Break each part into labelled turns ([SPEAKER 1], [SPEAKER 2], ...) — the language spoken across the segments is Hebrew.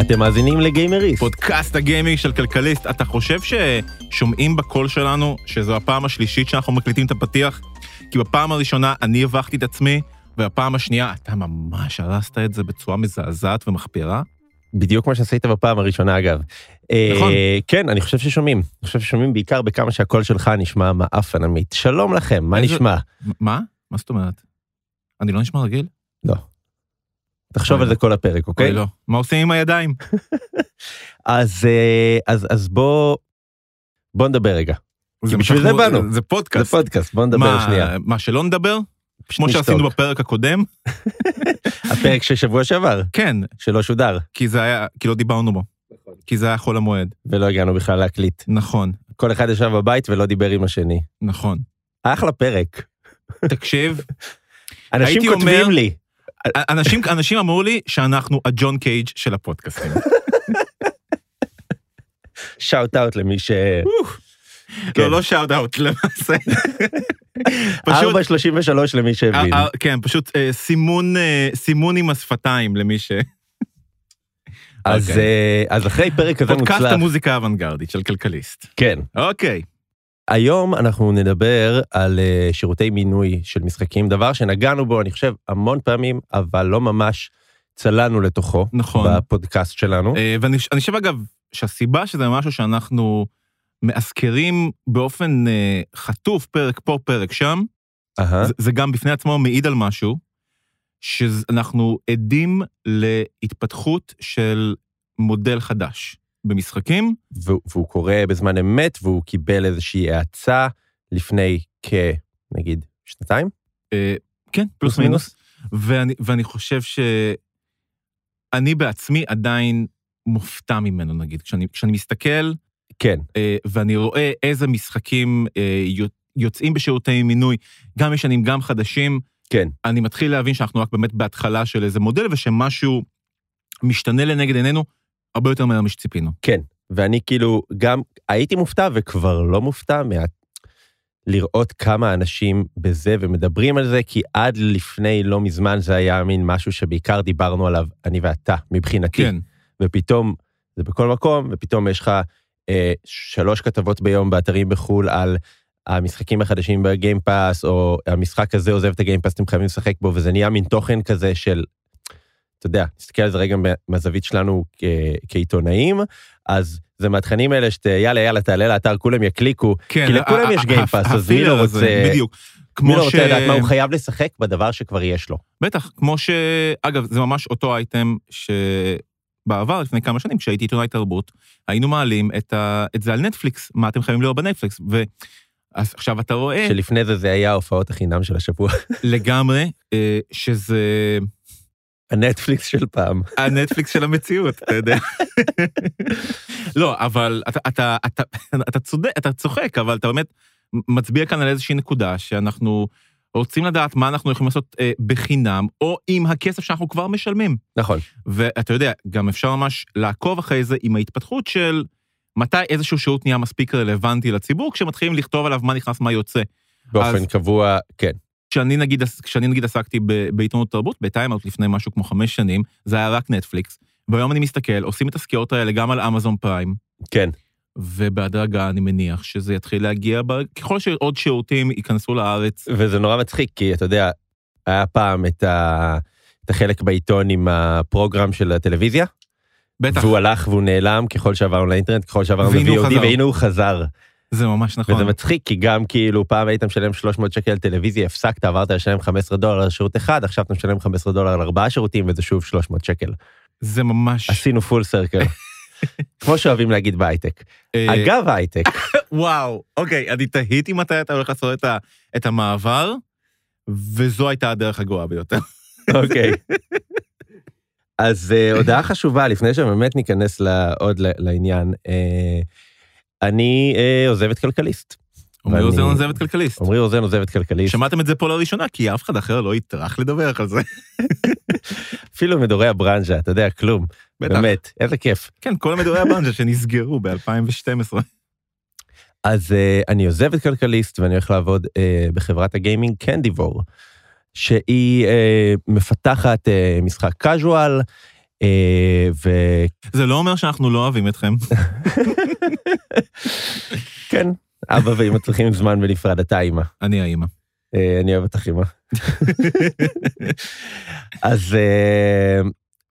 [SPEAKER 1] אתם מאזינים לגיימריסט.
[SPEAKER 2] פודקאסט הגיימינג של כלכליסט, אתה חושב ששומעים בקול שלנו שזו הפעם השלישית שאנחנו מקליטים את הפתיח? כי בפעם הראשונה אני הבכתי את עצמי, והפעם השנייה אתה ממש הרסת את זה בצורה מזעזעת ומחפירה.
[SPEAKER 1] בדיוק מה שעשית בפעם הראשונה, אגב.
[SPEAKER 2] נכון.
[SPEAKER 1] אה, כן, אני חושב ששומעים. אני חושב ששומעים בעיקר בכמה שהקול שלך נשמע מעפן עמית. שלום לכם, מה
[SPEAKER 2] איזה-
[SPEAKER 1] נשמע?
[SPEAKER 2] מ- מה? מה זאת אומרת? אני לא נשמע רגיל?
[SPEAKER 1] לא. תחשוב
[SPEAKER 2] אוי,
[SPEAKER 1] על
[SPEAKER 2] לא.
[SPEAKER 1] זה כל הפרק,
[SPEAKER 2] אוי,
[SPEAKER 1] אוקיי?
[SPEAKER 2] לא. מה עושים עם הידיים?
[SPEAKER 1] אז אה, אז- אז בוא... בוא נדבר רגע.
[SPEAKER 2] זה
[SPEAKER 1] בשביל
[SPEAKER 2] מתח-
[SPEAKER 1] זה באנו.
[SPEAKER 2] זה
[SPEAKER 1] זה
[SPEAKER 2] פודקאסט.
[SPEAKER 1] פודקאסט, בוא נדבר
[SPEAKER 2] מה-
[SPEAKER 1] שנייה.
[SPEAKER 2] מה, שלא נדבר? כמו
[SPEAKER 1] נשתוק.
[SPEAKER 2] שעשינו בפרק הקודם?
[SPEAKER 1] הפרק של שבוע שעבר,
[SPEAKER 2] כן,
[SPEAKER 1] שלא שודר,
[SPEAKER 2] כי זה היה, כי לא דיברנו בו.
[SPEAKER 1] נכון.
[SPEAKER 2] כי זה היה חול המועד.
[SPEAKER 1] ולא הגענו בכלל להקליט.
[SPEAKER 2] נכון,
[SPEAKER 1] כל אחד ישב בבית ולא דיבר עם השני.
[SPEAKER 2] נכון.
[SPEAKER 1] אחלה פרק.
[SPEAKER 2] תקשיב,
[SPEAKER 1] אנשים
[SPEAKER 2] הייתי
[SPEAKER 1] כותבים
[SPEAKER 2] אומר-
[SPEAKER 1] לי.
[SPEAKER 2] אנשים, אנשים אמרו לי שאנחנו הג'ון קייג' של הפודקאסטים.
[SPEAKER 1] שאוט אאוט למי ש... כן.
[SPEAKER 2] לא, לא שאוט אאוט, למעשה. פשוט,
[SPEAKER 1] 4.33 למי שהבין.
[SPEAKER 2] אה, אה, כן, פשוט אה, סימון, אה, סימון עם השפתיים למי ש...
[SPEAKER 1] אז,
[SPEAKER 2] אוקיי.
[SPEAKER 1] אה, אז אחרי פרק כזה
[SPEAKER 2] פודקאסט
[SPEAKER 1] מוצלח,
[SPEAKER 2] המוזיקה האוונגרדית של כלכליסט.
[SPEAKER 1] כן.
[SPEAKER 2] אוקיי,
[SPEAKER 1] היום אנחנו נדבר על אה, שירותי מינוי של משחקים, דבר שנגענו בו, אני חושב, המון פעמים, אבל לא ממש צללנו לתוכו
[SPEAKER 2] נכון.
[SPEAKER 1] בפודקאסט שלנו.
[SPEAKER 2] אה, ואני אני חושב, אגב, שהסיבה שזה משהו שאנחנו מאזכרים באופן אה, חטוף, פרק פה, פרק שם,
[SPEAKER 1] אהה,
[SPEAKER 2] אה, זה- זה גם בפני עצמו מעיד על משהו, שאנחנו עדים להתפתחות של מודל חדש במשחקים.
[SPEAKER 1] והוא- והוא קורא בזמן אמת, והוא קיבל איזושהי האצה לפני כ... נגיד, שנתיים?
[SPEAKER 2] אה, כן, פלוס מינוס. ואני, ואני חושב שאני בעצמי עדיין מופתע ממנו, נגיד. כשאני, כשאני מסתכל
[SPEAKER 1] כן,
[SPEAKER 2] אה, ואני רואה איזה משחקים אה, יוצ- יוצאים בשירותי מינוי, גם ישנים, גם חדשים,
[SPEAKER 1] כן.
[SPEAKER 2] אני מתחיל להבין שאנחנו רק באמת בהתחלה של איזה מודל, ושמשהו משתנה לנגד עינינו הרבה יותר ממה שציפינו.
[SPEAKER 1] ואני כאילו גם הייתי מופתע וכבר לא מופתע מה... לראות כמה אנשים בזה ומדברים על זה, כי עד לפני לא מזמן זה היה מין משהו שבעיקר דיברנו עליו, אני ואתה, מבחינתי.
[SPEAKER 2] כן,
[SPEAKER 1] ופתאום זה בכל מקום, ופתאום יש לך אה, שלוש כתבות ביום באתרים בחו"ל על המשחקים החדשים בגיימפאס, או המשחק הזה עוזב את הגיימפאס, אתם חייבים לשחק בו, וזה נהיה מין תוכן כזה של, אתה יודע, נסתכל על זה רגע מה- מהזווית שלנו כ- כעיתונאים, אז זה מהתכנים האלה שאתה, יאללה, יאללה, תעלה לאתר, כולם יקליקו,
[SPEAKER 2] כן.
[SPEAKER 1] כי לכולם
[SPEAKER 2] ה-
[SPEAKER 1] יש
[SPEAKER 2] ה-
[SPEAKER 1] Game
[SPEAKER 2] ה-
[SPEAKER 1] Pass, אז מי לא
[SPEAKER 2] הפילר הזה,
[SPEAKER 1] רוצה-
[SPEAKER 2] בדיוק.
[SPEAKER 1] מי
[SPEAKER 2] כמו
[SPEAKER 1] לא
[SPEAKER 2] ש...
[SPEAKER 1] רוצה לדעת מה הוא חייב לשחק בדבר שכבר יש לו.
[SPEAKER 2] בטח, כמו ש... אגב, זה ממש אותו אייטם שבעבר, לפני כמה שנים, כשהייתי עיתונאי תרבות, היינו מעלים את, ה... את זה על נטפליקס, מה אתם חייבים לראות בנטפליקס. ו... אז עכשיו אתה רואה
[SPEAKER 1] שלפני זה זה היה ההופעות החינם של השבוע,
[SPEAKER 2] לגמרי אה, שזה
[SPEAKER 1] הנטפליקס של פעם.
[SPEAKER 2] הנטפליקס של המציאות, אתה יודע. לא, אבל אתה, אתה, אתה, אתה צודק, אתה צוחק, אבל אתה באמת מצביע כאן על איזושהי נקודה שאנחנו רוצים לדעת מה אנחנו יכולים לעשות אה, בחינם, או עם הכסף שאנחנו כבר משלמים.
[SPEAKER 1] נכון.
[SPEAKER 2] ואתה יודע, גם אפשר ממש לעקוב אחרי זה עם ההתפתחות של מתי איזשהו שירות נהיה מספיק רלוונטי לציבור, כשמתחילים לכתוב עליו מה נכנס, מה יוצא.
[SPEAKER 1] באופן
[SPEAKER 2] אז-
[SPEAKER 1] קבוע, כן.
[SPEAKER 2] כשאני נגיד, כשאני נגיד עסקתי ב- בעיתונות תרבות, בטיימאוט לפני משהו כמו חמש שנים, זה היה רק נטפליקס, והיום אני מסתכל, עושים את הסקירות האלה גם על אמזון פריים,
[SPEAKER 1] כן.
[SPEAKER 2] ובהדרגה אני מניח שזה יתחיל להגיע, ב... ככל שעוד שירותים ייכנסו לארץ,
[SPEAKER 1] וזה נורא מצחיק, כי אתה יודע, היה פעם את, ה... את החלק בעיתון עם הפרוגרם של הטלוויזיה,
[SPEAKER 2] בטח,
[SPEAKER 1] והוא הלך והוא נעלם ככל שעברנו לאינטרנט, ככל שעברנו
[SPEAKER 2] והנה הוא
[SPEAKER 1] ל-VOD,
[SPEAKER 2] חזר.
[SPEAKER 1] והנה הוא חזר.
[SPEAKER 2] זה ממש
[SPEAKER 1] וזה
[SPEAKER 2] נכון.
[SPEAKER 1] מצחיק, כי גם כאילו פעם היית משלם 300 שקל על טלוויזיה, הפסקת, עברת לשלם 15 דולר על שירות אחד, עכשיו אתה משלם 15 דולר על ארבעה שירותים, וזה שוב 300 שקל.
[SPEAKER 2] זה ממש...
[SPEAKER 1] עשינו פול סרקל. כמו שאוהבים להגיד בהייטק.
[SPEAKER 2] אה,
[SPEAKER 1] אגב ההייטק,
[SPEAKER 2] וואו, אוקיי, אני תהיתי מתי אתה הולך לעשות את, ה... את המעבר, וזו הייתה הדרך הגרועה ביותר.
[SPEAKER 1] אוקיי. אז אה, הודעה חשובה, לפני שבאמת ניכנס ל- עוד ל- לעניין. אה, אני אה, עוזב את כלכליסט.
[SPEAKER 2] עמרי
[SPEAKER 1] ואני-
[SPEAKER 2] אוזן עוזב את כלכליסט.
[SPEAKER 1] עמרי אוזן עוזב את כלכליסט.
[SPEAKER 2] שמעתם את זה פה לראשונה, כי אף אחד אחר לא יטרח לדבר על זה.
[SPEAKER 1] אפילו מדורי הברנז'ה, אתה יודע, כלום.
[SPEAKER 2] בטח.
[SPEAKER 1] באמת, איזה כיף.
[SPEAKER 2] כן, כל מדורי הבנג'ה שנסגרו ב-2012.
[SPEAKER 1] אז אה, אני עוזב את כלכליסט ואני הולך לעבוד אה, בחברת הגיימינג קנדיבור, שהיא אה, מפתחת אה, משחק קאז'ואל, אה, ו-
[SPEAKER 2] זה לא אומר שאנחנו לא אוהבים אתכם.
[SPEAKER 1] כן, אבא ואמא צריכים זמן בנפרד, אתה אימא.
[SPEAKER 2] אני האימא.
[SPEAKER 1] אה, אני אוהב אותך אימא. אז אה,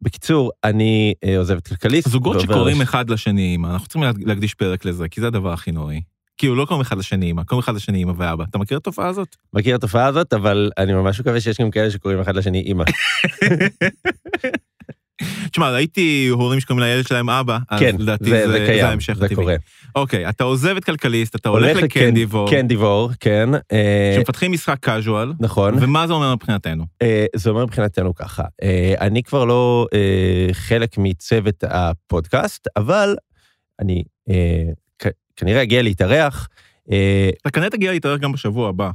[SPEAKER 1] בקיצור, אני אה, עוזב את כלכליסט.
[SPEAKER 2] זוגות
[SPEAKER 1] ועובר
[SPEAKER 2] שקוראים
[SPEAKER 1] לש-
[SPEAKER 2] אחד לשני אימא, אנחנו צריכים להד- להקדיש פרק לזה, כי זה הדבר הכי נוראי. כאילו, לא קוראים אחד לשני אימא, קוראים אחד לשני אימא ואבא. אתה מכיר את התופעה הזאת?
[SPEAKER 1] מכיר את התופעה הזאת, אבל אני ממש מקווה שיש גם כאלה שקוראים אחד לשני אימא.
[SPEAKER 2] תשמע, ראיתי הורים שקוראים לילד שלהם אבא, אז
[SPEAKER 1] כן,
[SPEAKER 2] לדעתי
[SPEAKER 1] זה- זה קיים,
[SPEAKER 2] ההמשך
[SPEAKER 1] זה
[SPEAKER 2] הטבעי.
[SPEAKER 1] קורה.
[SPEAKER 2] אוקיי, אתה עוזב את כלכליסט, אתה הולך לקנדי וור,
[SPEAKER 1] קנדי וור, כן. אה,
[SPEAKER 2] שמפתחים משחק קאז'ואל,
[SPEAKER 1] נכון.
[SPEAKER 2] ומה זה אומר מבחינתנו?
[SPEAKER 1] אה, זה אומר מבחינתנו ככה, אה, אני כבר לא אה, חלק מצוות הפודקאסט, אבל אני אה, כ- כנראה אגיע להתארח. אה,
[SPEAKER 2] אתה כנראה תגיע להתארח גם בשבוע הבא.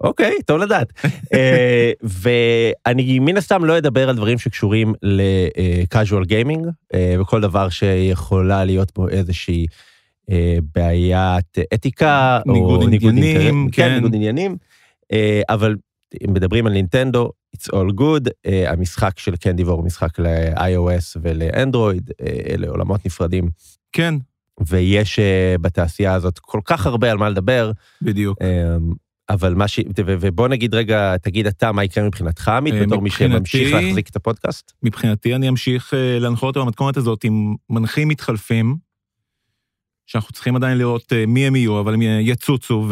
[SPEAKER 1] אוקיי, טוב לדעת. אה, ואני מן הסתם לא אדבר על דברים שקשורים ל-casual gaming, אה, וכל דבר שיכולה להיות בו איזושהי אה, בעיית אתיקה, או
[SPEAKER 2] ניגוד עניינים,
[SPEAKER 1] אינטרס- כן,
[SPEAKER 2] כן.
[SPEAKER 1] ניגוד עניינים. אה, אבל אם מדברים על נינטנדו, it's all good, אה, המשחק של קנדי וור הוא משחק ל-iOS ולאנדרואיד, אה, אלה עולמות נפרדים,
[SPEAKER 2] כן,
[SPEAKER 1] ויש אה, בתעשייה הזאת כל כך הרבה על מה לדבר.
[SPEAKER 2] בדיוק.
[SPEAKER 1] אמ, אבל מה ש... ו- ו- ובוא נגיד רגע, תגיד אתה מה יקרה מבחינתך, עמית,
[SPEAKER 2] אה,
[SPEAKER 1] בתור מי
[SPEAKER 2] מבחינתי-
[SPEAKER 1] שממשיך להחזיק את הפודקאסט?
[SPEAKER 2] מבחינתי אני אמשיך אה, להנחות את המתכונת הזאת עם מנחים מתחלפים, שאנחנו צריכים עדיין לראות אה, מי הם יהיו, אבל הם יצוצו,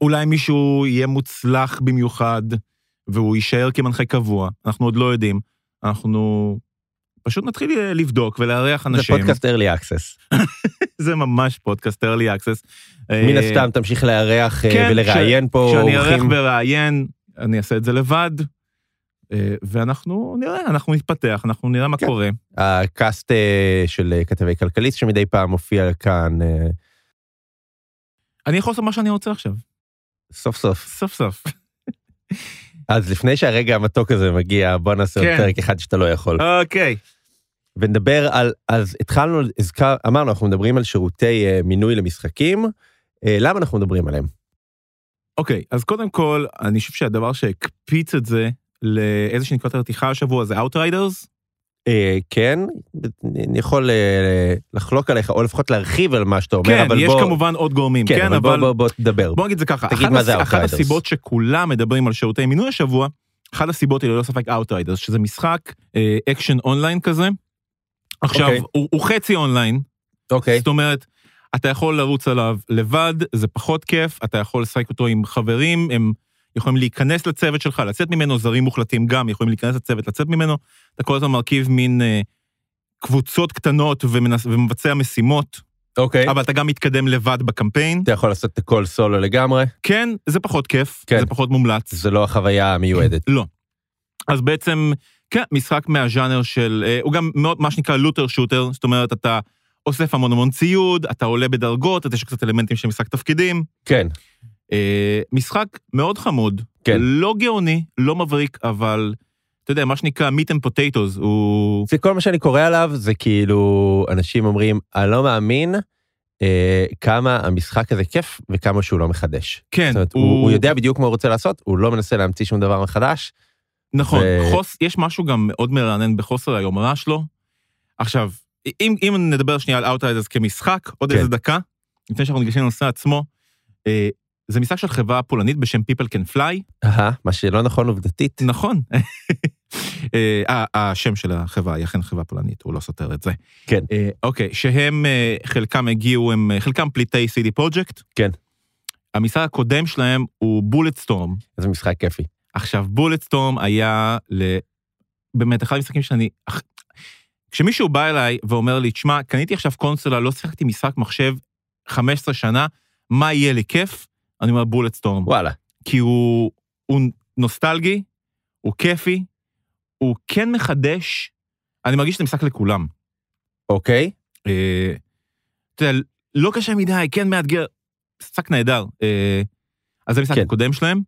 [SPEAKER 2] ואולי מישהו יהיה מוצלח במיוחד, והוא יישאר כמנחה קבוע, אנחנו עוד לא יודעים. אנחנו פשוט נתחיל אה, לבדוק ולארח
[SPEAKER 1] זה
[SPEAKER 2] אנשים.
[SPEAKER 1] פודקאסט early access.
[SPEAKER 2] זה ממש פודקאסט early access. אה,
[SPEAKER 1] מן הסתם תמשיך לארח אה,
[SPEAKER 2] כן,
[SPEAKER 1] ולראיין פה
[SPEAKER 2] כשאני אארח
[SPEAKER 1] אורחים.
[SPEAKER 2] וראיין, אני אעשה את זה לבד, אה, ואנחנו נראה, אנחנו נתפתח, אנחנו נראה מה
[SPEAKER 1] כן.
[SPEAKER 2] קורה.
[SPEAKER 1] הקאסט אה, של אה, כתבי כלכליסט שמדי פעם מופיע כאן אה,
[SPEAKER 2] אני יכול לעשות מה שאני רוצה עכשיו,
[SPEAKER 1] סוף סוף.
[SPEAKER 2] סוף סוף.
[SPEAKER 1] אז לפני שהרגע המתוק הזה מגיע, בוא נעשה עוד
[SPEAKER 2] כן.
[SPEAKER 1] פרק אחד שאתה לא יכול.
[SPEAKER 2] אוקיי.
[SPEAKER 1] ונדבר על, אז התחלנו, הזכר, אמרנו, אנחנו מדברים על שירותי אה, מינוי למשחקים. אה, למה אנחנו מדברים עליהם?
[SPEAKER 2] אוקיי, אז קודם כל, אני חושב שהדבר שהקפיץ את זה לאיזושהי נקודת הרתיחה השבוע זה Outriders.
[SPEAKER 1] אה, כן, אני יכול אה, לחלוק עליך, או לפחות להרחיב על מה שאתה אומר,
[SPEAKER 2] כן,
[SPEAKER 1] אבל
[SPEAKER 2] יש
[SPEAKER 1] בוא...
[SPEAKER 2] כמובן עוד גורמים.
[SPEAKER 1] כן, אבל בוא, בוא, בוא תדבר.
[SPEAKER 2] בוא נגיד זה ככה,
[SPEAKER 1] תגיד
[SPEAKER 2] אחת,
[SPEAKER 1] מה זה
[SPEAKER 2] הס- אחת
[SPEAKER 1] Outriders.
[SPEAKER 2] הסיבות שכולם מדברים על שירותי מינוי השבוע, אחת הסיבות היא ללא ספק Outriders, שזה משחק אה, אקשן אונליין כזה. עכשיו,
[SPEAKER 1] אוקיי.
[SPEAKER 2] הוא, הוא חצי אונליין,
[SPEAKER 1] אוקיי.
[SPEAKER 2] זאת אומרת, אתה יכול לרוץ עליו לבד, זה פחות כיף, אתה יכול לשחק אותו עם חברים, הם יכולים להיכנס לצוות שלך, לצאת ממנו, זרים מוחלטים גם יכולים להיכנס לצוות, לצאת ממנו, אתה כל הזמן מרכיב מין אה, קבוצות קטנות ומנס, ומבצע משימות,
[SPEAKER 1] אוקיי.
[SPEAKER 2] אבל אתה גם מתקדם לבד בקמפיין.
[SPEAKER 1] אתה יכול לעשות את הכל סולו לגמרי,
[SPEAKER 2] כן, זה פחות כיף,
[SPEAKER 1] כן.
[SPEAKER 2] זה פחות מומלץ.
[SPEAKER 1] זה לא החוויה המיועדת.
[SPEAKER 2] לא. אז בעצם, כן, משחק מהז'אנר של, אה, הוא גם מאוד, מה שנקרא לוטר שוטר, זאת אומרת, אתה אוסף המון המון ציוד, אתה עולה בדרגות, אז יש קצת אלמנטים של משחק תפקידים.
[SPEAKER 1] כן,
[SPEAKER 2] אה, משחק מאוד חמוד,
[SPEAKER 1] כן.
[SPEAKER 2] לא גאוני, לא מבריק, אבל, אתה יודע, מה שנקרא meat and potatoes, הוא...
[SPEAKER 1] זה כל מה שאני קורא עליו, זה כאילו, אנשים אומרים, אני לא מאמין אה, כמה המשחק הזה כיף וכמה שהוא לא מחדש.
[SPEAKER 2] כן,
[SPEAKER 1] זאת אומרת, הוא... הוא יודע בדיוק מה הוא רוצה לעשות, הוא לא מנסה להמציא שום דבר מחדש.
[SPEAKER 2] נכון,
[SPEAKER 1] ו-
[SPEAKER 2] ו... חוס, יש משהו גם מאוד מרענן בחוסר היומרה שלו. עכשיו, אם, אם נדבר שנייה על Outriders כמשחק, עוד
[SPEAKER 1] כן.
[SPEAKER 2] איזה דקה, לפני שאנחנו ניגשים לנושא עצמו, אה, זה משחק של חברה פולנית בשם People Can Fly,
[SPEAKER 1] אהה, מה שלא נכון עובדתית.
[SPEAKER 2] נכון. אה, ה- השם של החברה היא אכן חברה פולנית, הוא לא סותר את זה.
[SPEAKER 1] כן.
[SPEAKER 2] אה, אוקיי, שהם, אה, חלקם הגיעו, הם, אה, חלקם פליטי CD פרויקט.
[SPEAKER 1] כן.
[SPEAKER 2] המשחק הקודם שלהם הוא בולט סטורם.
[SPEAKER 1] זה משחק כיפי.
[SPEAKER 2] עכשיו, בולט סטורם היה ל... באמת, אחד המשחקים שאני... אך- כשמישהו בא אליי ואומר לי, תשמע, קניתי עכשיו קונסולה, לא שיחקתי משחק מחשב 15 שנה, מה יהיה לי כיף? אני אומר בולט סטורם.
[SPEAKER 1] וואלה.
[SPEAKER 2] כי הוא, הוא נוסטלגי, הוא כיפי, הוא כן מחדש. אני מרגיש שזה משחק לכולם.
[SPEAKER 1] אוקיי.
[SPEAKER 2] אה, אתה יודע, לא קשה מדי, כן מאתגר, משחק נהדר. אה, אז זה המשחק
[SPEAKER 1] כן.
[SPEAKER 2] הקודם שלהם,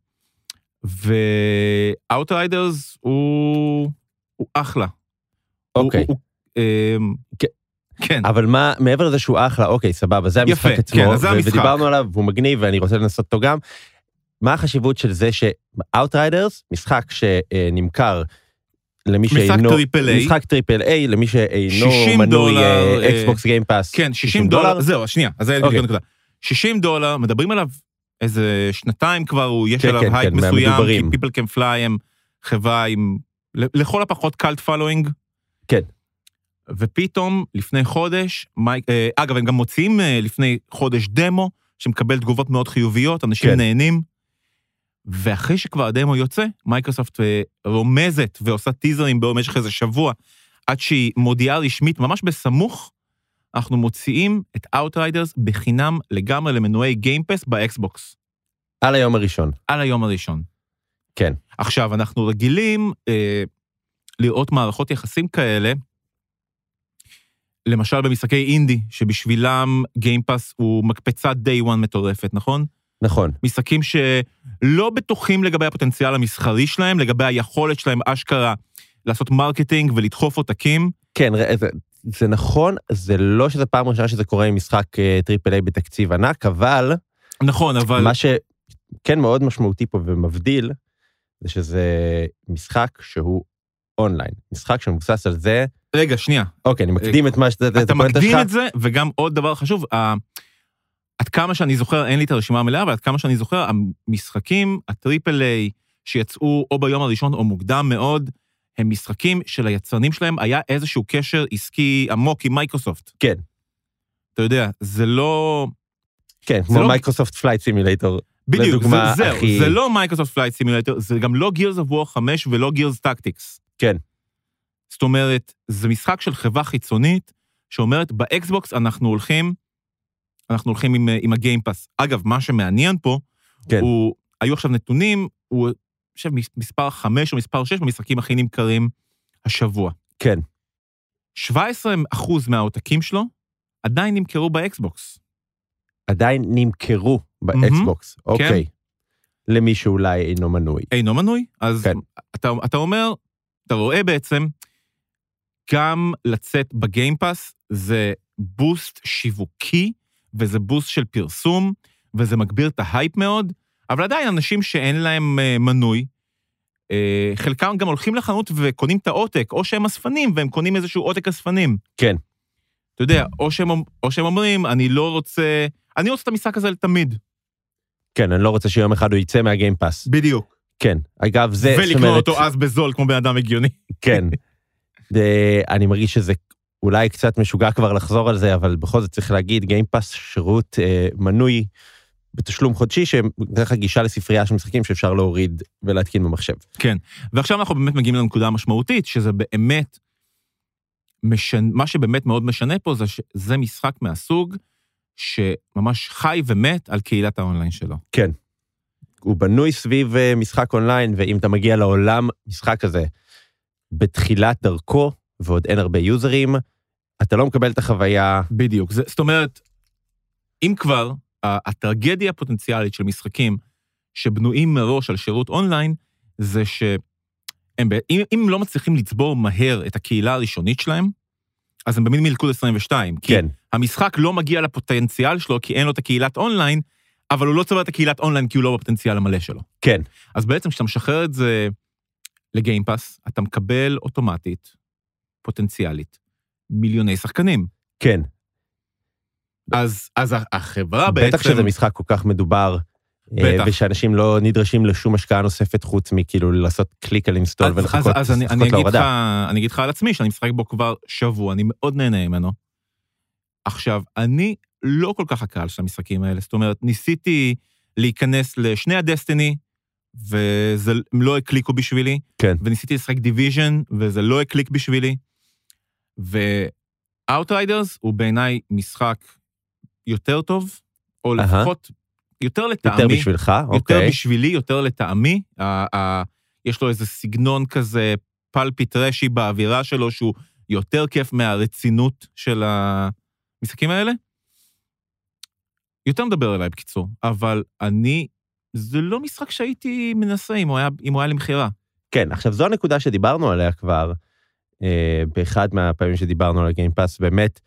[SPEAKER 2] ו-Outriders הוא, הוא אחלה. הוא-
[SPEAKER 1] אוקיי.
[SPEAKER 2] הוא- הוא- אמ,
[SPEAKER 1] כן.
[SPEAKER 2] כן,
[SPEAKER 1] אבל מה, מעבר לזה שהוא אחלה, אוקיי, סבבה, זה המשחק
[SPEAKER 2] יפה,
[SPEAKER 1] עצמו.
[SPEAKER 2] כן, אז זה
[SPEAKER 1] ו-
[SPEAKER 2] המשחק.
[SPEAKER 1] ודיברנו עליו, והוא מגניב, ואני רוצה לנסות אותו גם. מה החשיבות של זה ש-Outriders, משחק שנמכר למי
[SPEAKER 2] משחק
[SPEAKER 1] שאינו...
[SPEAKER 2] טריפל איי.
[SPEAKER 1] משחק טריפל איי, למי שאינו
[SPEAKER 2] 60
[SPEAKER 1] מנוי
[SPEAKER 2] דולר, אה,
[SPEAKER 1] אקסבוקס גיימפאס.
[SPEAKER 2] כן, 60 דולר, זהו, שנייה, אז זה
[SPEAKER 1] אוקיי.
[SPEAKER 2] בדיוק הנקודה. 60 דולר, מדברים עליו איזה שנתיים כבר, הוא, יש
[SPEAKER 1] כן,
[SPEAKER 2] עליו
[SPEAKER 1] כן,
[SPEAKER 2] הייפ
[SPEAKER 1] כן,
[SPEAKER 2] מסוים,
[SPEAKER 1] מהמדוברים.
[SPEAKER 2] כי People Can Fly הם חברה עם, לכל הפחות קלט פלואינג.
[SPEAKER 1] כן.
[SPEAKER 2] ופתאום, לפני חודש, מייק, אה, אגב, הם גם מוציאים אה, לפני חודש דמו, שמקבל תגובות מאוד חיוביות, אנשים
[SPEAKER 1] כן.
[SPEAKER 2] נהנים. ואחרי שכבר הדמו יוצא, מייקרוסופט אה, רומזת ועושה טיזרים במשך איזה שבוע, עד שהיא מודיעה רשמית, ממש בסמוך, אנחנו מוציאים את Outriders בחינם לגמרי למנועי גיימפס באקסבוקס,
[SPEAKER 1] על היום הראשון.
[SPEAKER 2] על היום הראשון.
[SPEAKER 1] כן.
[SPEAKER 2] עכשיו, אנחנו רגילים אה, לראות מערכות יחסים כאלה, למשל במשחקי אינדי, שבשבילם גיימפס הוא מקפצת day one מטורפת, נכון?
[SPEAKER 1] נכון.
[SPEAKER 2] משחקים שלא בטוחים לגבי הפוטנציאל המסחרי שלהם, לגבי היכולת שלהם אשכרה לעשות מרקטינג ולדחוף עותקים.
[SPEAKER 1] כן, ראה, זה, זה נכון, זה לא שזו פעם ראשונה שזה קורה עם משחק אה, טריפל איי בתקציב ענק, אבל,
[SPEAKER 2] נכון, אבל...
[SPEAKER 1] אבל מה שכן מאוד משמעותי פה ומבדיל, זה שזה משחק שהוא אונליין. משחק שמבוסס על זה,
[SPEAKER 2] רגע, שנייה.
[SPEAKER 1] אוקיי, אני מקדים את מה שאתה... את
[SPEAKER 2] אה, אתה
[SPEAKER 1] הפואנטה
[SPEAKER 2] מקדים
[SPEAKER 1] שלך.
[SPEAKER 2] את זה, וגם עוד דבר חשוב, ה- עד כמה שאני זוכר, אין לי את הרשימה המלאה, אבל עד כמה שאני זוכר, המשחקים, הטריפל איי, שיצאו או ביום הראשון או מוקדם מאוד, הם משחקים שליצרנים שלהם היה איזשהו קשר עסקי עמוק עם מייקרוסופט.
[SPEAKER 1] כן.
[SPEAKER 2] אתה יודע, זה לא...
[SPEAKER 1] כן, כמו
[SPEAKER 2] לא-
[SPEAKER 1] מייקרוסופט פלייט סימילטור.
[SPEAKER 2] בדיוק, זה,
[SPEAKER 1] לדוגמה,
[SPEAKER 2] זהו,
[SPEAKER 1] הכי-
[SPEAKER 2] זה לא מייקרוסופט פלייט סימולטר, זה גם לא גירס of War 5 ולא גירס טקטיקס.
[SPEAKER 1] כן.
[SPEAKER 2] זאת אומרת, זה משחק של חברה חיצונית שאומרת, באקסבוקס אנחנו הולכים, אנחנו הולכים עם, אה, עם הגיימפאס. אגב, מה שמעניין פה,
[SPEAKER 1] כן.
[SPEAKER 2] הוא, היו עכשיו נתונים, הוא, אני חושב, מס- מספר 5 או מספר 6 במשחקים הכי נמכרים השבוע.
[SPEAKER 1] כן.
[SPEAKER 2] 17% מהעותקים שלו עדיין נמכרו באקסבוקס.
[SPEAKER 1] עדיין נמכרו באקסבוקס,
[SPEAKER 2] כן.
[SPEAKER 1] אוקיי. למי שאולי אינו מנוי.
[SPEAKER 2] אינו מנוי, אז
[SPEAKER 1] כן.
[SPEAKER 2] כן. אתה, אתה אומר, אתה רואה בעצם, גם לצאת בגיימפאס זה בוסט שיווקי, וזה בוסט של פרסום, וזה מגביר את ההייפ מאוד, אבל עדיין אנשים שאין להם אה, מנוי, אה, חלקם גם הולכים לחנות וקונים את העותק, או שהם אספנים והם קונים איזשהו עותק אספנים.
[SPEAKER 1] כן.
[SPEAKER 2] אתה יודע, או שהם, אומ- או שהם אומרים, אני לא רוצה, אני רוצה את המשחק הזה לתמיד.
[SPEAKER 1] כן, אני לא רוצה שיום אחד הוא יצא מהגיימפאס.
[SPEAKER 2] בדיוק.
[SPEAKER 1] כן. אגב, זה, זאת
[SPEAKER 2] ולקנות
[SPEAKER 1] אומרת-
[SPEAKER 2] אותו אז בזול כמו בן אדם הגיוני.
[SPEAKER 1] כן. זה- אני מרגיש שזה אולי קצת משוגע כבר לחזור על זה, אבל בכל זאת צריך להגיד, גיימפאס שירות אה, מנוי בתשלום חודשי, שנותן לך גישה לספרייה של משחקים שאפשר להוריד ולהתקין במחשב.
[SPEAKER 2] ועכשיו אנחנו באמת מגיעים לנקודה המשמעותית, שזה באמת, משנ... מה שבאמת מאוד משנה פה זה שזה משחק מהסוג שממש חי ומת על קהילת האונליין שלו.
[SPEAKER 1] הוא בנוי סביב אה, משחק אונליין, ואם אתה מגיע לעולם משחק הזה בתחילת דרכו, ועוד אין הרבה יוזרים, אתה לא מקבל את החוויה,
[SPEAKER 2] בדיוק. זה, זאת אומרת, אם כבר, ה- הטרגדיה הפוטנציאלית של משחקים שבנויים מראש על שירות אונליין, זה שהם, ב- אם, אם לא מצליחים לצבור מהר את הקהילה הראשונית שלהם, אז הם במין מלכוד 22. כי
[SPEAKER 1] כן,
[SPEAKER 2] המשחק לא מגיע לפוטנציאל שלו כי אין לו את הקהילת אונליין, אבל הוא לא צובר את הקהילת אונליין כי הוא לא בפוטנציאל המלא שלו.
[SPEAKER 1] כן.
[SPEAKER 2] אז בעצם כשאתה משחרר את זה לגיימפאס, אתה מקבל אוטומטית, פוטנציאלית, מיליוני שחקנים.
[SPEAKER 1] כן.
[SPEAKER 2] אז, אז ה- החברה אה, בעצם...
[SPEAKER 1] בטח שזה משחק כל כך מדובר.
[SPEAKER 2] בטח.
[SPEAKER 1] אה, ושאנשים לא נדרשים לשום השקעה נוספת חוץ מכאילו לעשות קליק על אינסטול
[SPEAKER 2] אז, אז,
[SPEAKER 1] ולחכות
[SPEAKER 2] אז אני, אני,
[SPEAKER 1] לחכות
[SPEAKER 2] אגיד לך,
[SPEAKER 1] להורדה.
[SPEAKER 2] אני אגיד לך על עצמי שאני משחק בו כבר שבוע, אני מאוד נהנה ממנו. עכשיו, אני לא כל כך הקהל של המשחקים האלה, זאת אומרת, ניסיתי להיכנס לשני הדסטיני, והם לא הקליקו בשבילי,
[SPEAKER 1] כן.
[SPEAKER 2] וניסיתי לשחק דיוויז'ן, וזה לא הקליק בשבילי. ו-Outriders הוא בעיניי משחק יותר טוב, או
[SPEAKER 1] אהה.
[SPEAKER 2] לפחות יותר לטעמי.
[SPEAKER 1] יותר בשבילך,
[SPEAKER 2] יותר
[SPEAKER 1] אוקיי.
[SPEAKER 2] בשבילי, יותר לטעמי. ה- ה- יש לו איזה סגנון כזה פלפי טרשי באווירה שלו, שהוא יותר כיף מהרצינות של המשחקים האלה. יותר מדבר אליי בקיצור, אבל אני, זה לא משחק שהייתי מנסה אם הוא היה, אם הוא היה למכירה.
[SPEAKER 1] כן, עכשיו זו הנקודה שדיברנו עליה כבר, אה, באחד מהפעמים שדיברנו על הגיימפאס, באמת,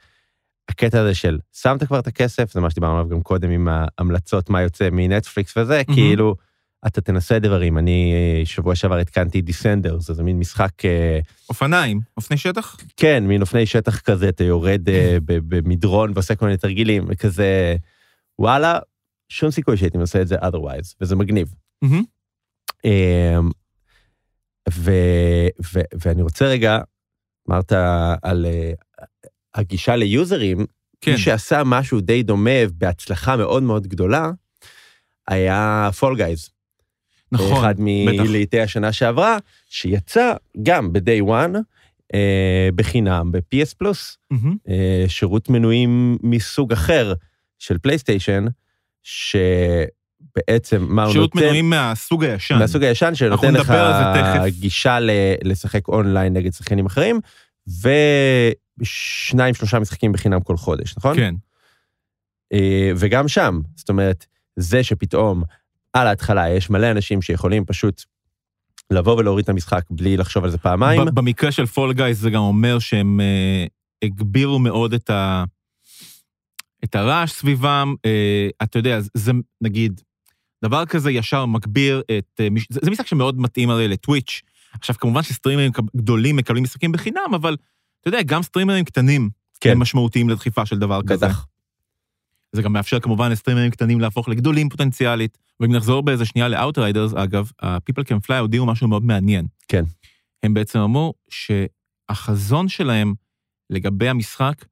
[SPEAKER 1] הקטע הזה של שמת כבר את הכסף, זה מה שדיברנו עליו גם קודם עם ההמלצות, מה יוצא מנטפליקס וזה,
[SPEAKER 2] מהמם.
[SPEAKER 1] כאילו, אתה תנסה דברים. אני אה, שבוע שעבר התקנתי דיסנדרס, זה מין משחק, אה,
[SPEAKER 2] אופניים, אופני שטח?
[SPEAKER 1] כן, מין אופני שטח כזה, אתה יורד אה, ב- במדרון ועושה כל מיני תרגילים, וכזה, וואלה, שום סיכוי שהייתי עושה את זה otherwise, וזה מגניב.
[SPEAKER 2] מהמם.
[SPEAKER 1] אמ, ו, ו, ואני רוצה רגע, אמרת על אה, הגישה ליוזרים,
[SPEAKER 2] כן.
[SPEAKER 1] מי שעשה משהו די דומה בהצלחה מאוד מאוד גדולה, היה פול גייז.
[SPEAKER 2] נכון.
[SPEAKER 1] אחד מלעיטי השנה שעברה, שיצא גם ב-day one, אה, בחינם, ב-PS פלוס,
[SPEAKER 2] מהמם.
[SPEAKER 1] אה, שירות מנויים מסוג אחר של פלייסטיישן, שבעצם מה הוא נותן...
[SPEAKER 2] שירות מנויים מהסוג הישן.
[SPEAKER 1] מהסוג הישן שנותן
[SPEAKER 2] אנחנו
[SPEAKER 1] לך
[SPEAKER 2] נדבר על זה תכף.
[SPEAKER 1] גישה ל- לשחק אונליין נגד שחקנים אחרים, ושניים, שלושה משחקים בחינם כל חודש, נכון?
[SPEAKER 2] כן.
[SPEAKER 1] אה, וגם שם, זאת אומרת, זה שפתאום על ההתחלה יש מלא אנשים שיכולים פשוט לבוא ולהוריד את המשחק בלי לחשוב על זה פעמיים,
[SPEAKER 2] ב- במקרה של פול גייז זה גם אומר שהם אה, הגבירו מאוד את, ה, את הרעש סביבם. אה, אתה יודע, זה- זה נגיד, דבר כזה ישר מגביר את... אה, מש- זה, זה משחק שמאוד מתאים הרי לטוויץ'. עכשיו, כמובן שסטרימרים מקב- גדולים מקבלים משחקים בחינם, אבל אתה יודע, גם סטרימרים קטנים
[SPEAKER 1] כן.
[SPEAKER 2] הם משמעותיים לדחיפה של דבר כזה.
[SPEAKER 1] בטח.
[SPEAKER 2] זה גם מאפשר כמובן לסטרימרים קטנים להפוך לגדולים פוטנציאלית. ואם נחזור באיזה שנייה לאאוטריידרס, אגב, ה-People Can Fly הודיעו משהו מאוד מעניין.
[SPEAKER 1] כן.
[SPEAKER 2] הם בעצם אמרו שהחזון שלהם לגבי המשחק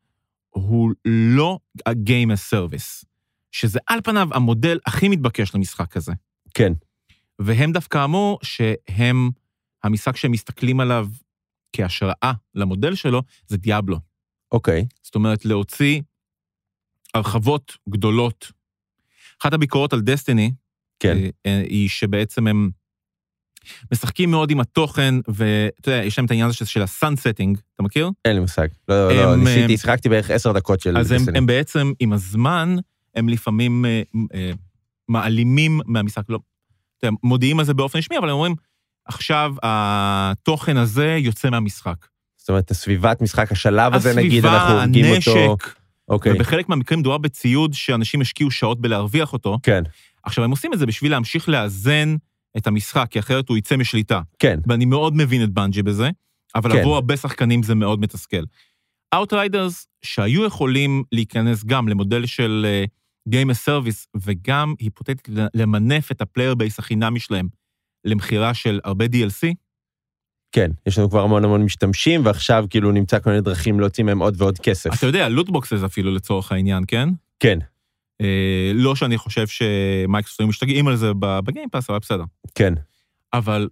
[SPEAKER 2] הוא לא ה-game as service, שזה על פניו המודל הכי מתבקש למשחק הזה.
[SPEAKER 1] כן.
[SPEAKER 2] והם דווקא אמרו שהם, המשחק שהם מסתכלים עליו כהשראה למודל שלו, זה דיאבלו.
[SPEAKER 1] אוקיי,
[SPEAKER 2] זאת אומרת, להוציא הרחבות גדולות. אחת הביקורות על דסטיני,
[SPEAKER 1] כן,
[SPEAKER 2] אה, אה, היא שבעצם הם משחקים מאוד עם התוכן, ואתה יודע, יש להם את העניין הזה של- של הסאנסטינג, אתה מכיר?
[SPEAKER 1] אין לי מושג. לא, לא,
[SPEAKER 2] הם,
[SPEAKER 1] ניסיתי,
[SPEAKER 2] הם-
[SPEAKER 1] שחקתי בערך עשר דקות של...
[SPEAKER 2] אז הם,
[SPEAKER 1] דיסני.
[SPEAKER 2] הם בעצם, עם הזמן, הם לפעמים אה, אה, מעלימים מהמשחק, לא, אתה יודע, מודיעים על זה באופן רשמי, אבל הם אומרים, עכשיו התוכן הזה יוצא מהמשחק.
[SPEAKER 1] זאת אומרת, הסביבת משחק, השלב הזה, נגיד,
[SPEAKER 2] הסביבה,
[SPEAKER 1] אנחנו הורגים אותו.
[SPEAKER 2] הנשק,
[SPEAKER 1] אוקיי,
[SPEAKER 2] ובחלק מהמקרים מדובר בציוד שאנשים השקיעו שעות בלהרוויח אותו.
[SPEAKER 1] כן,
[SPEAKER 2] עכשיו, הם עושים את זה בשביל להמשיך לאזן את המשחק, כי אחרת הוא יצא משליטה.
[SPEAKER 1] כן,
[SPEAKER 2] ואני מאוד מבין את בנג'י בזה, אבל
[SPEAKER 1] כן.
[SPEAKER 2] כן. עבור הרבה שחקנים זה מאוד מתסכל. Outriders, שהיו יכולים להיכנס גם למודל של אה, Game as Service, וגם היפותטית למנף את הפלייר בייס החינמי שלהם למכירה של הרבה DLC,
[SPEAKER 1] כן. יש לנו כבר המון המון משתמשים, ועכשיו כאילו נמצא כל מיני דרכים להוציא מהם עוד ועוד כסף.
[SPEAKER 2] אתה יודע, לוטבוקסס אפילו לצורך העניין, כן?
[SPEAKER 1] כן,
[SPEAKER 2] אה, לא שאני חושב שמייקרוסופטים משתגעים על זה ב- בגיימפאס, אבל בסדר.
[SPEAKER 1] כן.
[SPEAKER 2] אבל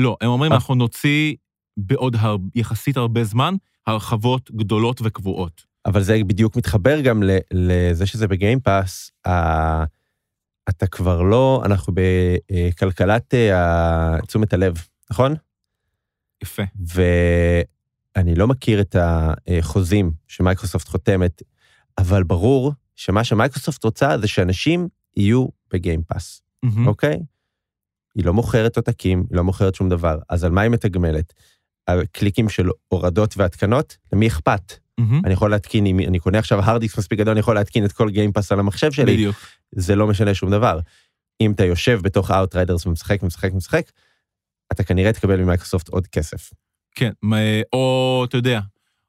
[SPEAKER 2] לא, הם אומרים,
[SPEAKER 1] אה.
[SPEAKER 2] אנחנו נוציא בעוד הר... יחסית הרבה זמן הרחבות גדולות וקבועות.
[SPEAKER 1] אבל זה בדיוק מתחבר גם ל- לזה שזה בגיימפאס, ה- אתה כבר לא, אנחנו בכלכלת אה, תשומת הלב, נכון?
[SPEAKER 2] יפה.
[SPEAKER 1] ואני לא מכיר את החוזים שמייקרוסופט חותמת, אבל ברור שמה שמייקרוסופט רוצה זה שאנשים יהיו בגיימפאס,
[SPEAKER 2] מהמם.
[SPEAKER 1] אוקיי? היא לא מוכרת עותקים, היא לא מוכרת שום דבר, אז על מה היא מתגמלת? על קליקים של הורדות והתקנות? למי אכפת?
[SPEAKER 2] מהמם.
[SPEAKER 1] אני יכול להתקין, אם אני קונה עכשיו hard disk מספיק גדול, אני יכול להתקין את כל גיימפאס על המחשב שלי,
[SPEAKER 2] בדיוק.
[SPEAKER 1] זה לא משנה שום דבר. אם אתה יושב בתוך Outriders ומשחק, משחק, משחק, אתה כנראה תקבל ממייקרוסופט עוד כסף.
[SPEAKER 2] כן, מה- או, אתה יודע,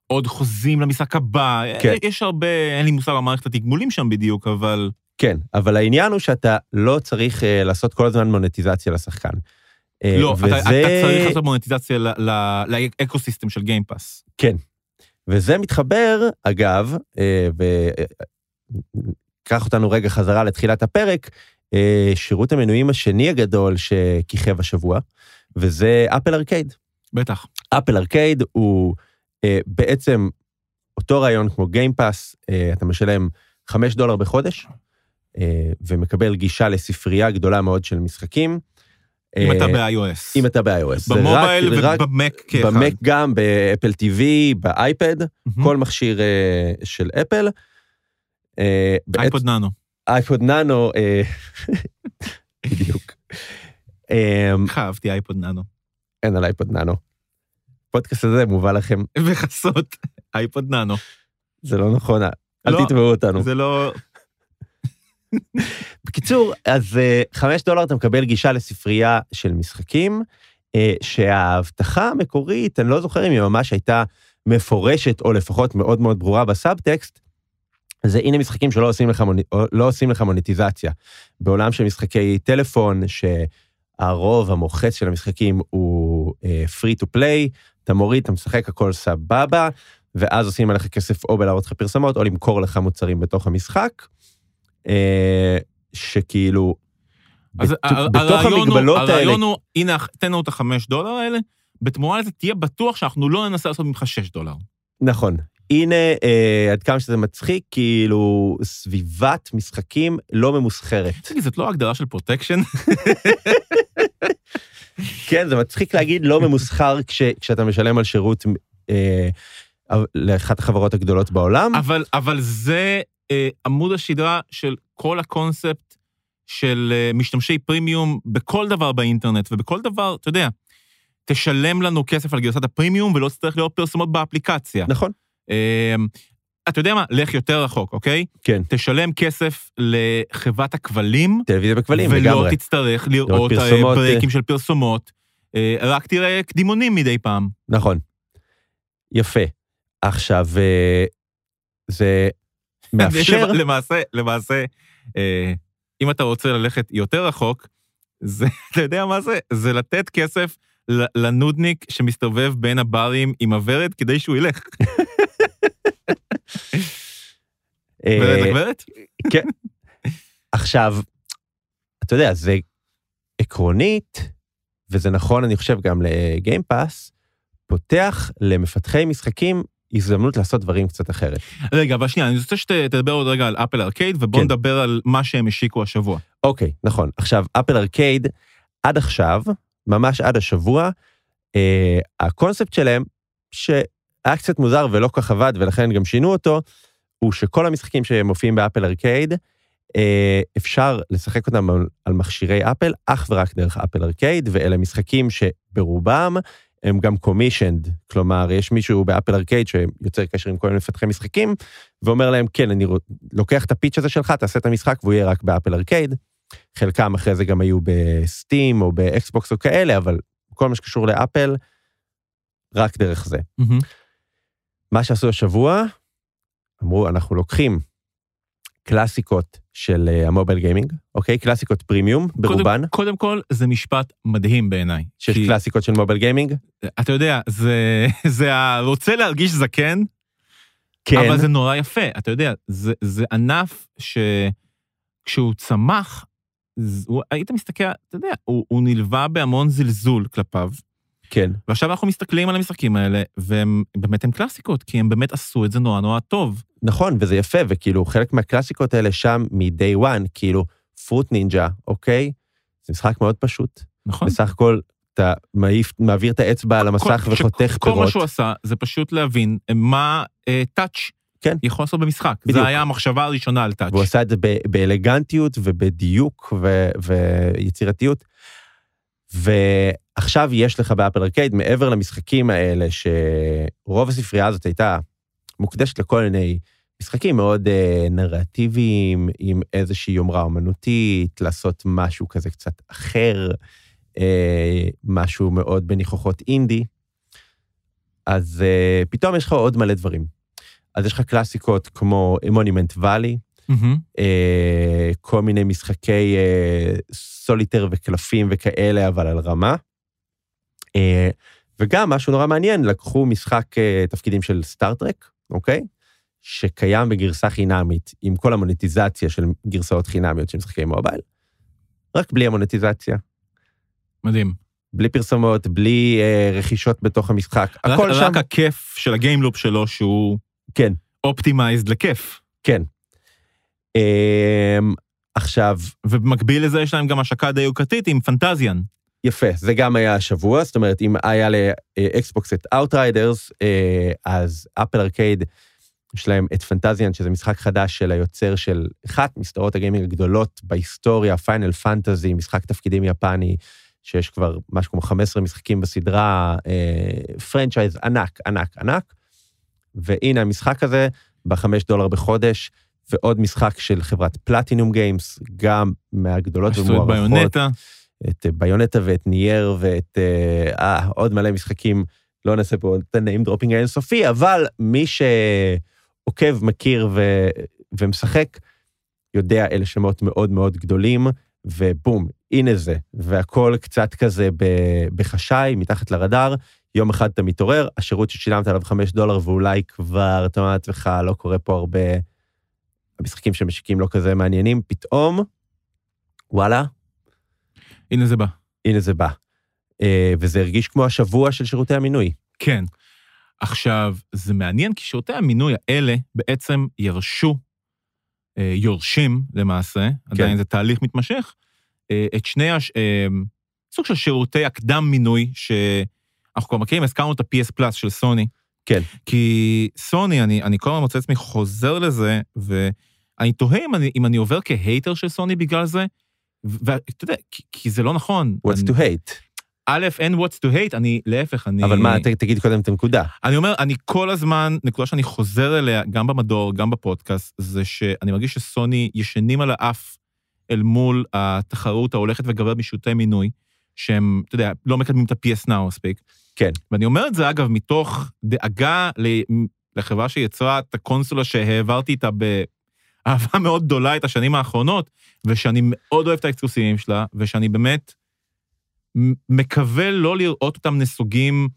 [SPEAKER 2] עוד חוזים למשחק הבא. אה,
[SPEAKER 1] כן.
[SPEAKER 2] יש הרבה, אין לי מושג על מערכת התגמולים שם בדיוק, אבל...
[SPEAKER 1] כן, אבל העניין הוא שאתה לא צריך uh, לעשות כל הזמן מונטיזציה לשחקן. אה,
[SPEAKER 2] לא, אתה-
[SPEAKER 1] וזה-
[SPEAKER 2] אתה צריך לעשות מונטיזציה ל- ל- לאקוסיסטם של גיימפאס.
[SPEAKER 1] וזה מתחבר, אגב, אה, וקח אותנו רגע חזרה לתחילת הפרק, אה, שירות המנויים השני הגדול שכיכב השבוע, וזה אפל ארקייד.
[SPEAKER 2] בטח.
[SPEAKER 1] אפל ארקייד הוא אה, בעצם אותו רעיון כמו גיימפאס, אה, אתה משלם 5 דולר בחודש, אה, ומקבל גישה לספרייה גדולה מאוד של משחקים.
[SPEAKER 2] אם
[SPEAKER 1] אה,
[SPEAKER 2] אתה ב-iOS.
[SPEAKER 1] אם אתה ב-iOS. זה
[SPEAKER 2] במובייל
[SPEAKER 1] רק- רק
[SPEAKER 2] ובמק כאחד.
[SPEAKER 1] במק גם, באפל TV, באייפד,
[SPEAKER 2] מהמם.
[SPEAKER 1] כל מכשיר אה, של אפל. אה, בעצם-
[SPEAKER 2] אייפוד נאנו.
[SPEAKER 1] אייפוד נאנו, אה, בדיוק. אה,
[SPEAKER 2] איך אהבתי אייפוד נאנו.
[SPEAKER 1] אין על אייפוד נאנו. הפודקאסט הזה מובא לכם,
[SPEAKER 2] בחסות אייפוד נאנו.
[SPEAKER 1] זה לא נכון, אל
[SPEAKER 2] לא,
[SPEAKER 1] תתבעו אותנו.
[SPEAKER 2] זה לא...
[SPEAKER 1] בקיצור, אז אה, חמש דולר אתה מקבל גישה לספרייה של משחקים, אה, שההבטחה המקורית, אני לא זוכר אם היא ממש הייתה מפורשת, או לפחות מאוד מאוד ברורה בסאבטקסט, זה הנה משחקים שלא עושים לך, מוני, או- לא עושים לך מוניטיזציה. בעולם של משחקי טלפון, שהרוב המוחץ של המשחקים הוא אה, פרי טו פליי, אתה מוריד, אתה משחק, הכל סבבה, ואז עושים עליך כסף או בלהראות לך פרסמות, או למכור לך מוצרים בתוך המשחק. אה, שכאילו,
[SPEAKER 2] אז
[SPEAKER 1] בת-
[SPEAKER 2] ה-
[SPEAKER 1] בתוך
[SPEAKER 2] הרעיון הוא-
[SPEAKER 1] המגבלות האלה,
[SPEAKER 2] הרעיון הוא, הנה, תן לנו את החמש דולר האלה, בתמורה לזה תהיה בטוח שאנחנו לא ננסה לעשות ממך שש דולר.
[SPEAKER 1] נכון. הנה, אה, עד כמה שזה מצחיק, כאילו, סביבת משחקים לא ממוסחרת.
[SPEAKER 2] תגיד, זאת לא הגדרה של פרוטקשן?
[SPEAKER 1] כן, זה מצחיק להגיד לא ממוסחר כש, כשאתה משלם על שירות אה, לאחת החברות הגדולות בעולם.
[SPEAKER 2] אבל, אבל זה אה, עמוד השדרה של כל הקונספט של אה, משתמשי פרימיום בכל דבר באינטרנט, ובכל דבר, אתה יודע, תשלם לנו כסף על גרסת הפרימיום ולא תצטרך לראות פרסומות באפליקציה.
[SPEAKER 1] נכון.
[SPEAKER 2] אה, אתה יודע מה? לך יותר רחוק, אוקיי?
[SPEAKER 1] כן.
[SPEAKER 2] תשלם כסף לחברת הכבלים,
[SPEAKER 1] טלוויזיה בכבלים,
[SPEAKER 2] ולא
[SPEAKER 1] לגמרי.
[SPEAKER 2] תצטרך לראות אה,
[SPEAKER 1] פרסומות, אה.
[SPEAKER 2] ברייקים של פרסומות, אה, רק תראה קדימונים מדי פעם.
[SPEAKER 1] נכון. יפה. עכשיו, אה, זה מאפשר...
[SPEAKER 2] למעשה, למעשה, אה, אם אתה רוצה ללכת יותר רחוק, זה, אתה יודע מה זה? זה לתת כסף ל- לנודניק שמסתובב בין הברים עם הוורד כדי שהוא ילך.
[SPEAKER 1] אה,
[SPEAKER 2] ורד לגברת?
[SPEAKER 1] עכשיו, אתה יודע, זה עקרונית, וזה נכון, אני חושב, גם לגיימפאס, פותח למפתחי משחקים הזדמנות לעשות דברים קצת אחרת.
[SPEAKER 2] רגע, אבל שנייה, אני רוצה שתדבר עוד רגע על אפל ארקייד, ובואו
[SPEAKER 1] כן.
[SPEAKER 2] נדבר על מה שהם השיקו השבוע.
[SPEAKER 1] אוקיי, נכון. עכשיו, אפל ארקייד, עד עכשיו, ממש עד השבוע, אה, הקונספט שלהם, שהיה קצת מוזר ולא כל כך עבד, ולכן גם שינו אותו, הוא שכל המשחקים שמופיעים באפל ארקייד, אה, אפשר לשחק אותם על, על מכשירי אפל, אך ורק דרך אפל ארקייד, ואלה משחקים שברובם הם גם קומישנד, כלומר, יש מישהו באפל ארקייד שיוצר קשר עם כל מיני מפתחי משחקים, ואומר להם, כן, אני רוצ- לוקח את הפיץ' הזה שלך, תעשה את המשחק, והוא יהיה רק באפל ארקייד. חלקם אחרי זה גם היו בסטים או באקסבוקס או כאלה, אבל כל מה שקשור לאפל, רק דרך זה. מה שעשו השבוע, אמרו, אנחנו לוקחים קלאסיקות של אה, המובייל גיימינג, אוקיי? קלאסיקות פרימיום ברובן,
[SPEAKER 2] קודם, קודם כל, זה משפט מדהים בעיניי.
[SPEAKER 1] שיש
[SPEAKER 2] כי-
[SPEAKER 1] קלאסיקות של מובייל גיימינג.
[SPEAKER 2] אתה יודע, זה, זה ה- רוצה להרגיש זקן,
[SPEAKER 1] כן,
[SPEAKER 2] אבל זה נורא יפה, אתה יודע, זה, זה ענף שכשהוא צמח, ז- הוא, היית מסתכל, אתה יודע, הוא, הוא נלווה בהמון זלזול כלפיו,
[SPEAKER 1] כן,
[SPEAKER 2] ועכשיו אנחנו מסתכלים על המשחקים האלה, והם באמת הם קלאסיקות, כי הם באמת עשו את זה נורא נורא טוב.
[SPEAKER 1] נכון, וזה יפה, וכאילו, חלק מהקלאסיקות האלה שם מ-day one, כאילו, פרוט נינג'ה, אוקיי? זה משחק מאוד פשוט.
[SPEAKER 2] נכון?
[SPEAKER 1] בסך הכל, אתה מעיף, מעביר את האצבע על המסך
[SPEAKER 2] כל-
[SPEAKER 1] וחותך
[SPEAKER 2] כל מה
[SPEAKER 1] פירות.
[SPEAKER 2] שהוא עשה זה פשוט להבין מה טאץ'
[SPEAKER 1] כן.
[SPEAKER 2] יכול לעשות במשחק.
[SPEAKER 1] בדיוק.
[SPEAKER 2] זה היה המחשבה הראשונה על טאץ'.
[SPEAKER 1] והוא עשה את זה ב- באלגנטיות ובדיוק ו- ויצירתיות. ועכשיו יש לך באפל ארקייד, מעבר למשחקים האלה, שרוב הספרייה הזאת הייתה מוקדשת לכל מיני משחקים מאוד אה, נרטיביים, עם איזושהי יומרה אומנותית, לעשות משהו כזה קצת אחר, אה, משהו מאוד בניחוחות אינדי. אז אה, פתאום יש לך עוד מלא דברים. אז יש לך קלאסיקות כמו מונימנט ואלי,
[SPEAKER 2] מהמם.
[SPEAKER 1] אה, כל מיני משחקי אה, סוליטר וקלפים וכאלה, אבל על רמה. אה, וגם משהו נורא מעניין, לקחו משחק אה, תפקידים של סטארט-טרק, אוקיי? שקיים בגרסה חינמית, עם כל המוניטיזציה של גרסאות חינמיות של משחקי מובייל, רק בלי המוניטיזציה,
[SPEAKER 2] מדהים.
[SPEAKER 1] בלי פרסומות, בלי אה, רכישות בתוך המשחק,
[SPEAKER 2] רק,
[SPEAKER 1] הכל שם.
[SPEAKER 2] רק הכיף של הגיימלופ שלו שהוא
[SPEAKER 1] כן.
[SPEAKER 2] אופטימייזד לכיף.
[SPEAKER 1] כן. אה, עכשיו,
[SPEAKER 2] ובמקביל לזה יש להם גם השקה די יוקרתית עם פנטזיאן.
[SPEAKER 1] יפה, זה גם היה השבוע, זאת אומרת, אם היה לאקסבוקס את Outriders, אה, אז אפל ארקייד, יש להם את פנטזיאן, שזה משחק חדש של היוצר של אחת מסדרות הגיימינג הגדולות בהיסטוריה, פיינל פנטזי, משחק תפקידים יפני, שיש כבר משהו כמו 15 משחקים בסדרה, אה, פרנצ'ייז ענק, ענק, ענק. והנה המשחק הזה, בחמש דולר בחודש, ועוד משחק של חברת פלטינום גיימס, גם מהגדולות
[SPEAKER 2] עשו את
[SPEAKER 1] ומוערכות.
[SPEAKER 2] ביונטה,
[SPEAKER 1] את אה, ביונטה ואת נייר ואת אה, אה, עוד מלא משחקים, לא נעשה פה את הנעים דרופינג האינסופי, אבל מי שעוקב, מכיר ו, ומשחק, יודע, אלה שמות מאוד מאוד גדולים, ובום, הנה זה. והכל קצת כזה ב- בחשאי, מתחת לרדאר, יום אחד אתה מתעורר, השירות ששילמת עליו 5 דולר, ואולי כבר, אתה אומר לעצמך, לא קורה פה הרבה, המשחקים שמשיקים לא כזה מעניינים, פתאום, וואלה,
[SPEAKER 2] הנה זה בא.
[SPEAKER 1] הנה זה בא. אה, וזה הרגיש כמו השבוע של שירותי המינוי.
[SPEAKER 2] כן. עכשיו, זה מעניין כי שירותי המינוי האלה בעצם ירשו, אה, יורשים למעשה,
[SPEAKER 1] כן.
[SPEAKER 2] עדיין זה תהליך מתמשך, אה, את שני, הש... אה, סוג של שירותי הקדם מינוי שאנחנו כבר מכירים, הזכרנו את ה-PS פלאס של סוני.
[SPEAKER 1] כן.
[SPEAKER 2] כי סוני, אני, אני כל הזמן מוצא עצמי חוזר לזה, ואני תוהה אם אני, אם אני עובר כהייטר של סוני בגלל זה, ו- ואתה יודע, כי, כי זה לא נכון.
[SPEAKER 1] What's
[SPEAKER 2] אני,
[SPEAKER 1] to hate.
[SPEAKER 2] א', אין what's to hate, אני להפך, אני...
[SPEAKER 1] אבל מה, ת- תגיד קודם את הנקודה.
[SPEAKER 2] אני אומר, אני כל הזמן, נקודה שאני חוזר אליה, גם במדור, גם בפודקאסט, זה שאני מרגיש שסוני ישנים על האף אל מול התחרות ההולכת וגברת משירותי מינוי, שהם, אתה יודע, לא מקדמים את ה-PS Now מספיק.
[SPEAKER 1] כן.
[SPEAKER 2] ואני אומר את זה, אגב, מתוך דאגה ל- לחברה שיצרה את הקונסולה שהעברתי איתה באהבה מאוד גדולה את השנים האחרונות, ושאני מאוד אוהב את האקסקלוסיבים שלה, ושאני באמת מ- מקווה לא לראות אותם נסוגים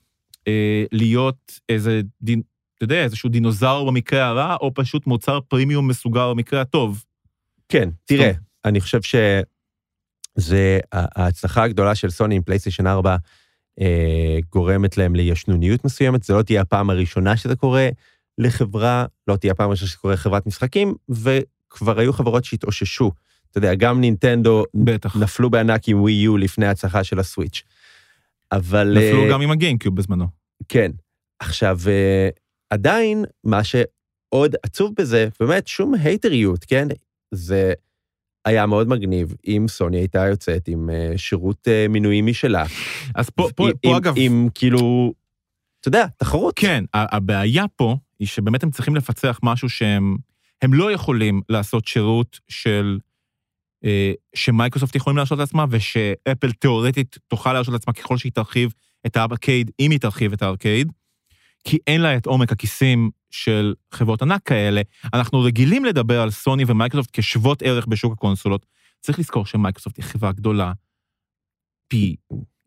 [SPEAKER 2] אה, להיות איזה, דין, אתה יודע, איזשהו דינוזאור במקרה הרע, או פשוט מוצר פרימיום מסוגר במקרה הטוב.
[SPEAKER 1] כן, תראה, אני חושב שזה ה- ההצלחה הגדולה של סוני עם פלייסטיישן 4 אה, גורמת להם לישנוניות מסוימת. זה לא תהיה הפעם הראשונה שזה קורה לחברה, לא תהיה הפעם הראשונה שזה קורה לחברת משחקים, וכבר היו חברות שהתאוששו. אתה יודע, גם נינטנדו
[SPEAKER 2] בטח.
[SPEAKER 1] נפלו בענק עם ווי יו לפני ההצלחה של הסוויץ'. אבל... אה,
[SPEAKER 2] נפלו גם עם הגיימקיוב בזמנו.
[SPEAKER 1] כן. עכשיו, אה, עדיין, מה שעוד עצוב בזה, באמת, שום הייטריות, כן? זה היה מאוד מגניב אם סוני הייתה יוצאת עם אה, שירות אה, מינויים משלה.
[SPEAKER 2] אז פה, פה,
[SPEAKER 1] עם,
[SPEAKER 2] פה
[SPEAKER 1] עם,
[SPEAKER 2] אגב...
[SPEAKER 1] עם כאילו, אתה יודע, תחרות.
[SPEAKER 2] כן, ה- הבעיה פה היא שבאמת הם צריכים לפצח משהו שהם הם לא יכולים לעשות שירות של... אה, שמייקרוסופט יכולים להרשות לעצמה, ושאפל תאורטית תוכל להרשות לעצמה ככל שהיא תרחיב את הארקייד, אם היא תרחיב את הארקייד, כי אין לה את עומק הכיסים של חברות ענק כאלה. אנחנו רגילים לדבר על סוני ומייקרוסופט כשוות ערך בשוק הקונסולות. צריך לזכור שמייקרוסופט היא חברה גדולה פי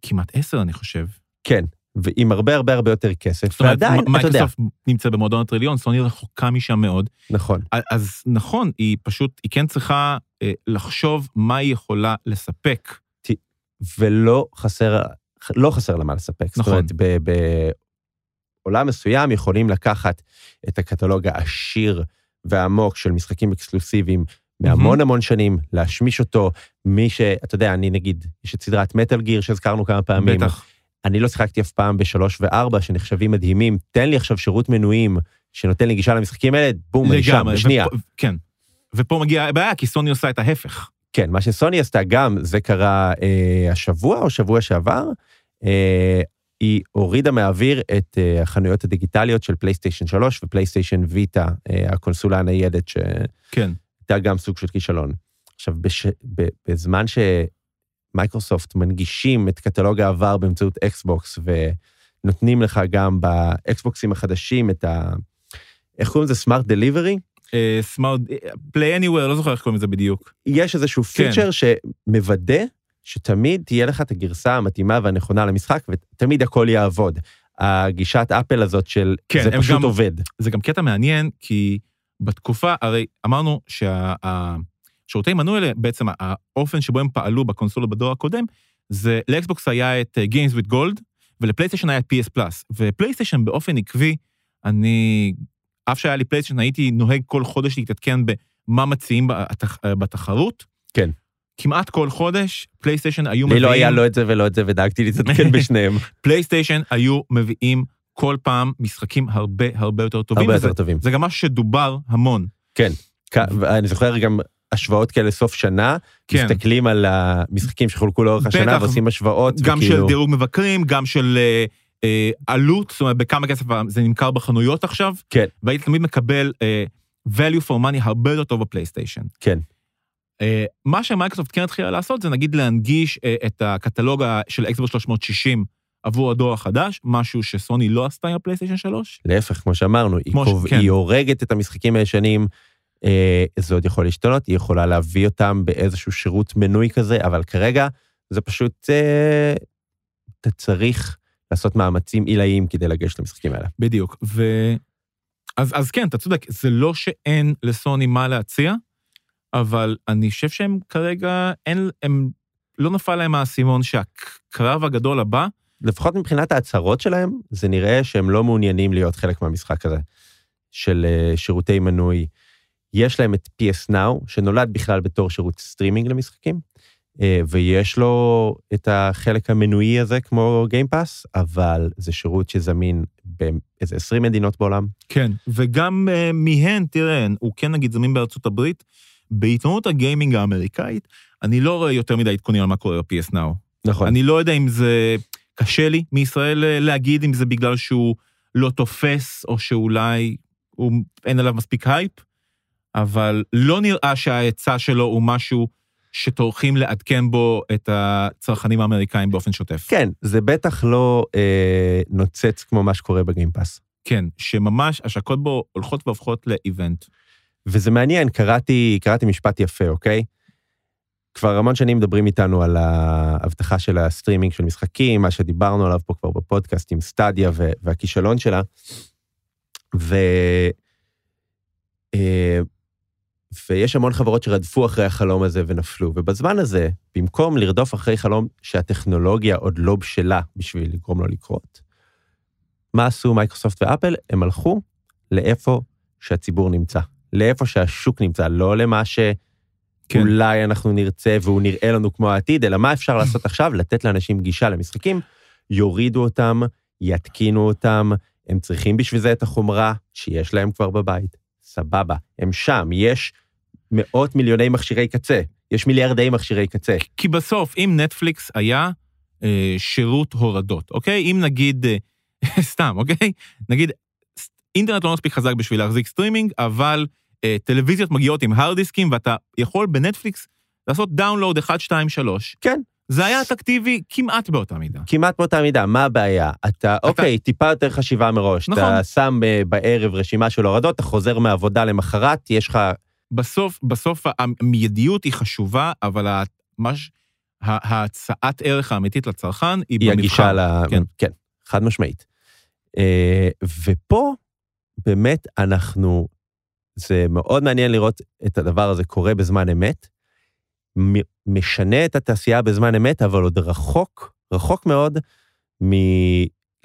[SPEAKER 2] כמעט עשר, אני חושב.
[SPEAKER 1] כן, ועם הרבה הרבה הרבה יותר כסף,
[SPEAKER 2] זאת אומרת,
[SPEAKER 1] ועדיין,
[SPEAKER 2] מ-
[SPEAKER 1] אתה יודע,
[SPEAKER 2] מייקרוסופט נמצא במועדון הטריליון, סוני רחוקה משם מאוד.
[SPEAKER 1] נכון.
[SPEAKER 2] א- אז נכון, היא פשוט, היא כן צריכה אה, לחשוב מה היא יכולה לספק.
[SPEAKER 1] ולא חסר, לא חסר לה מה לספק. זאת
[SPEAKER 2] נכון.
[SPEAKER 1] אומרת, ב- בעולם מסוים יכולים לקחת את הקטלוג העשיר והעמוק של משחקים אקסקלוסיביים מהמון
[SPEAKER 2] מהמם.
[SPEAKER 1] המון שנים, להשמיש אותו. מי ש... אתה יודע, אני נגיד, יש את סדרת מטאל גיר שהזכרנו כמה פעמים.
[SPEAKER 2] בטח.
[SPEAKER 1] אני לא שיחקתי אף פעם בשלוש וארבע, שנחשבים מדהימים. תן לי עכשיו שירות מנויים שנותן לי גישה למשחקים האלה, בום, אני שם,
[SPEAKER 2] לגמרי.
[SPEAKER 1] בשנייה.
[SPEAKER 2] ופה- כן. ופה מגיעה הבעיה, כי סוני עושה את ההפך.
[SPEAKER 1] כן, מה שסוני עשתה גם, זה קרה אה, השבוע או שבוע שעבר, אה, היא הורידה מהאוויר את אה, החנויות הדיגיטליות של פלייסטיישן 3 ופלייסטיישן ויטה, אה, הקונסולה הניידת, שהייתה
[SPEAKER 2] כן.
[SPEAKER 1] גם סוג של כישלון. עכשיו, בש, ב, בזמן שמייקרוסופט מנגישים את קטלוג העבר באמצעות אקסבוקס, ונותנים לך גם באקסבוקסים החדשים את ה... איך קוראים לזה? סמארט דליברי?
[SPEAKER 2] סמארט, פליי אניוור, אה, לא זוכר איך קוראים לזה בדיוק.
[SPEAKER 1] יש איזשהו
[SPEAKER 2] כן.
[SPEAKER 1] פיצ'ר שמוודא שתמיד תהיה לך את הגרסה המתאימה והנכונה למשחק, ותמיד הכל יעבוד. הגישת אפל הזאת של
[SPEAKER 2] כן,
[SPEAKER 1] זה
[SPEAKER 2] הם
[SPEAKER 1] פשוט
[SPEAKER 2] גם-
[SPEAKER 1] עובד.
[SPEAKER 2] זה גם קטע מעניין, כי בתקופה, הרי אמרנו שהשירותי מנוי האלה, בעצם האופן שבו הם פעלו בקונסולות בדור הקודם, זה לאקסבוקס היה את אה, Games with Gold, ולפלייסטיישן היה את PS פלאס. ופלייסטיישן באופן עקבי, אני, אף שהיה לי פלייסטיישן, הייתי נוהג כל חודש להתעדכן במה מציעים בתח, בתחרות.
[SPEAKER 1] כן.
[SPEAKER 2] כמעט כל חודש, פלייסטיישן היו
[SPEAKER 1] לי לא היה לא את זה ולא את זה, ודאגתי להתעדכן בשניהם.
[SPEAKER 2] פלייסטיישן היו מביאים כל פעם משחקים הרבה הרבה יותר טובים.
[SPEAKER 1] הרבה
[SPEAKER 2] וזה-
[SPEAKER 1] יותר טובים.
[SPEAKER 2] זה גם משהו שדובר המון.
[SPEAKER 1] כ- ואני זוכר גם השוואות כאלה סוף שנה,
[SPEAKER 2] כן.
[SPEAKER 1] מסתכלים על המשחקים שחולקו לאורך השנה
[SPEAKER 2] בטח.
[SPEAKER 1] ועושים השוואות.
[SPEAKER 2] גם
[SPEAKER 1] וכאילו-
[SPEAKER 2] של דירוג מבקרים, גם של אה, אה, עלות, זאת אומרת, בכמה כסף זה נמכר בחנויות עכשיו.
[SPEAKER 1] כן.
[SPEAKER 2] והיית תמיד מקבל אה, value for money הרבה יותר טוב בפלייסטיישן.
[SPEAKER 1] כן.
[SPEAKER 2] אה, מה שמייקרוסופט כן התחילה לעשות זה נגיד להנגיש אה, את הקטלוג ה- של אקסבוס 360 עבור הדור החדש, משהו שסוני לא עשתה עם הפלייסטיישן 3.
[SPEAKER 1] להפך, כמו שאמרנו, היא,
[SPEAKER 2] כמו ש-
[SPEAKER 1] קוב...
[SPEAKER 2] כן.
[SPEAKER 1] היא הורגת את המשחקים הישנים, אה, זה עוד יכול להשתנות, היא יכולה להביא אותם באיזשהו שירות מנוי כזה, אבל כרגע זה פשוט, אה, אתה צריך לעשות מאמצים עילאיים כדי לגשת למשחקים האלה.
[SPEAKER 2] בדיוק. ו... אז, אז כן, אתה צודק, זה לא שאין לסוני מה להציע, אבל אני חושב שהם כרגע, אין, הם, לא נפל להם האסימון שהקרב הגדול הבא,
[SPEAKER 1] לפחות מבחינת ההצהרות שלהם, זה נראה שהם לא מעוניינים להיות חלק מהמשחק הזה, של אה, שירותי מנוי. יש להם את PS Now, שנולד בכלל בתור שירות סטרימינג למשחקים, אה, ויש לו את החלק המנועי הזה כמו Game Pass, אבל זה שירות שזמין באיזה 20 מדינות בעולם.
[SPEAKER 2] כן. וגם uh, מהן, תראה, הוא כן נגיד זמין בארצות הברית, בעיתונות הגיימינג האמריקאית, אני לא רואה יותר מדי עדכונים על מה קורה ב-PS Now.
[SPEAKER 1] נכון.
[SPEAKER 2] אני לא יודע אם זה קשה לי מישראל אה, להגיד אם זה בגלל שהוא לא תופס, או שאולי הוא, אין עליו מספיק הייפ, אבל לא נראה שההיצע שלו הוא משהו שטורחים לעדכן בו את הצרכנים האמריקאים באופן שוטף.
[SPEAKER 1] כן, זה בטח לא אה, נוצץ כמו מה שקורה בגיים פאס.
[SPEAKER 2] כן, שממש השקות בו הולכות והופכות לאיבנט.
[SPEAKER 1] וזה מעניין, קראתי, קראתי משפט יפה, אוקיי? כבר המון שנים מדברים איתנו על ההבטחה של הסטרימינג של משחקים, מה שדיברנו עליו פה כבר בפודקאסט עם סטדיה ו- והכישלון שלה. ו... אה, ויש המון חברות שרדפו אחרי החלום הזה ונפלו, ובזמן הזה, במקום לרדוף אחרי חלום שהטכנולוגיה עוד לא בשלה בשביל לגרום לו לקרות, מה עשו מייקרוסופט ואפל? הם הלכו לאיפה שהציבור נמצא, לאיפה שהשוק נמצא, לא למה ש... כן. אולי אנחנו נרצה והוא נראה לנו כמו העתיד, אלא מה אפשר לעשות עכשיו? לתת לאנשים גישה למשחקים, יורידו אותם, יתקינו אותם, הם צריכים בשביל זה את החומרה שיש להם כבר בבית. סבבה, הם שם, יש מאות מיליוני מכשירי קצה, יש מיליארדי מכשירי קצה.
[SPEAKER 2] כי בסוף, אם נטפליקס היה אה, שירות הורדות, אוקיי? אם נגיד, אה, סתם, אוקיי? נגיד, ס- אינטרנט לא מספיק חזק בשביל להחזיק סטרימינג, אבל אה, טלוויזיות מגיעות עם הארד דיסקים, ואתה יכול בנטפליקס לעשות דאונלואוד 1, 2, 3.
[SPEAKER 1] כן.
[SPEAKER 2] זה היה אטרקטיבי כמעט באותה מידה.
[SPEAKER 1] כמעט באותה מידה, מה הבעיה? אתה, אוקיי, טיפה יותר חשיבה מראש.
[SPEAKER 2] נכון.
[SPEAKER 1] אתה שם אה, בערב רשימה של הורדות, אתה חוזר מהעבודה למחרת, יש לך
[SPEAKER 2] בסוף, בסוף המיידיות היא חשובה, אבל ה- מה ש- ה- ההצעת ערך האמיתית לצרכן היא
[SPEAKER 1] היא
[SPEAKER 2] במבחן.
[SPEAKER 1] הגישה ל...
[SPEAKER 2] כן.
[SPEAKER 1] כן. כן, חד משמעית. אה, ופה, באמת, אנחנו... זה מאוד מעניין לראות את הדבר הזה קורה בזמן אמת, מ- משנה את התעשייה בזמן אמת, אבל עוד רחוק, רחוק מאוד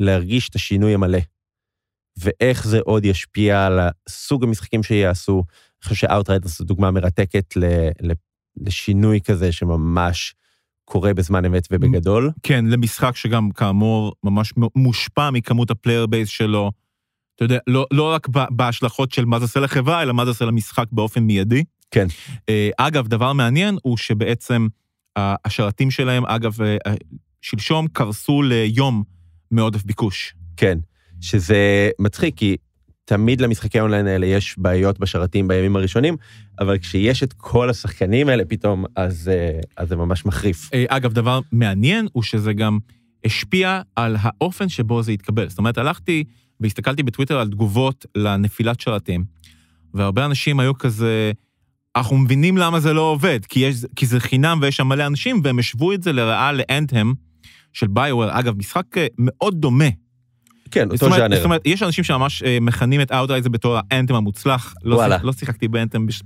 [SPEAKER 1] מלהרגיש את השינוי המלא. ואיך זה עוד ישפיע על סוג המשחקים שיעשו. אני חושב שאוטריידרס זו דוגמה מרתקת ל- ל- לשינוי כזה שממש קורה בזמן אמת ובגדול.
[SPEAKER 2] כן, למשחק שגם כאמור ממש מושפע מכמות הפלייר בייס שלו. אתה יודע, לא, לא רק ב- בהשלכות של מה זה עושה לחברה, אלא מה זה עושה למשחק באופן מיידי.
[SPEAKER 1] כן.
[SPEAKER 2] אה, אגב, דבר מעניין הוא שבעצם ה- השרתים שלהם, אגב, אה, אה, שלשום קרסו ליום מעודף ביקוש.
[SPEAKER 1] כן, שזה מצחיק, כי תמיד למשחקי האונליין האלה יש בעיות בשרתים בימים הראשונים, אבל כשיש את כל השחקנים האלה פתאום, אז, אה, אז זה ממש מחריף.
[SPEAKER 2] אה, אגב, דבר מעניין הוא שזה גם השפיע על האופן שבו זה התקבל. זאת אומרת, הלכתי והסתכלתי בטוויטר על תגובות לנפילת שרתים, והרבה אנשים היו כזה, אנחנו מבינים למה זה לא עובד, כי, יש, כי זה חינם ויש שם מלא אנשים, והם השוו את זה לרעה לאנתם של ביואר. אגב, משחק אה, מאוד דומה.
[SPEAKER 1] כן,
[SPEAKER 2] זאת
[SPEAKER 1] אותו
[SPEAKER 2] אומרת, זאת
[SPEAKER 1] ז'אנר.
[SPEAKER 2] אומרת, יש אנשים שממש אה, מכנים את אאוטרייזר בתור האנתם המוצלח. לא
[SPEAKER 1] וואלה.
[SPEAKER 2] שיח- לא שיחקתי באנתם בש-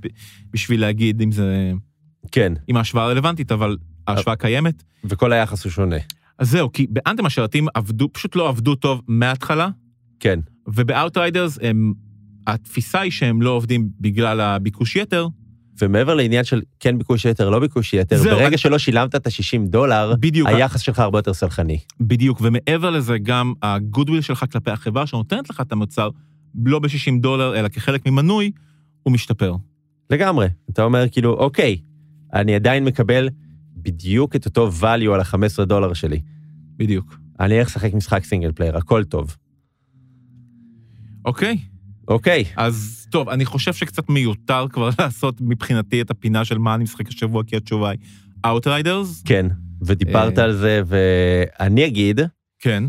[SPEAKER 2] בשביל להגיד אם זה,
[SPEAKER 1] כן,
[SPEAKER 2] אם ההשוואה רלוונטית, אבל ההשוואה קיימת.
[SPEAKER 1] וכל היחס הוא שונה.
[SPEAKER 2] אז זהו, כי באנתם השרתים עבדו, פשוט לא עבדו טוב מההתחלה,
[SPEAKER 1] כן,
[SPEAKER 2] ובאאוטריידרס הם, התפיסה היא שהם לא עובדים בגלל הביקוש יתר,
[SPEAKER 1] ומעבר לעניין של כן ביקוש יתר, לא ביקוש יתר,
[SPEAKER 2] זהו,
[SPEAKER 1] ברגע
[SPEAKER 2] אני-
[SPEAKER 1] שלא שילמת את ה-60 דולר,
[SPEAKER 2] בדיוק, היה...
[SPEAKER 1] היחס שלך הרבה יותר סלחני.
[SPEAKER 2] בדיוק, ומעבר לזה גם הגודוויל שלך כלפי החברה שנותנת לך את המוצר, לא ב-60 דולר, אלא כחלק ממנוי, הוא משתפר.
[SPEAKER 1] לגמרי. אתה אומר כאילו, אוקיי, אני עדיין מקבל בדיוק את אותו value על ה-15 דולר שלי.
[SPEAKER 2] בדיוק.
[SPEAKER 1] אני הולך לשחק משחק סינגל פלייר, הכל טוב.
[SPEAKER 2] אוקיי,
[SPEAKER 1] אוקיי,
[SPEAKER 2] אז טוב, אני חושב שקצת מיותר כבר לעשות מבחינתי את הפינה של מה אני משחק השבוע, כי התשובה היא Outriders.
[SPEAKER 1] כן, ודיברת
[SPEAKER 2] אה.
[SPEAKER 1] על זה, ואני אגיד
[SPEAKER 2] כן.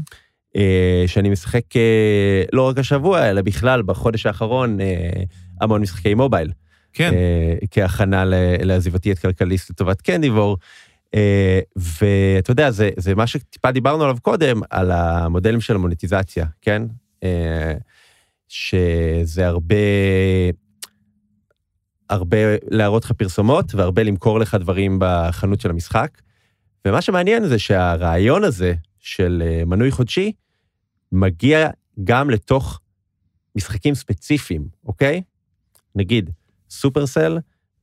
[SPEAKER 1] אה, שאני משחק אה, לא רק השבוע, אלא בכלל בחודש האחרון אה, המון משחקי מובייל.
[SPEAKER 2] כן.
[SPEAKER 1] אה, כהכנה ל- לעזיבתי את כלכליסט לטובת קנדיבור. אה, ואתה יודע, זה, זה מה שטיפה דיברנו עליו קודם, על המודלים של המוניטיזציה, כן? אה, שזה הרבה, הרבה להראות לך פרסומות והרבה למכור לך דברים בחנות של המשחק. ומה שמעניין זה שהרעיון הזה של אה, מנוי חודשי מגיע גם לתוך משחקים ספציפיים, אוקיי? נגיד, סופרסל,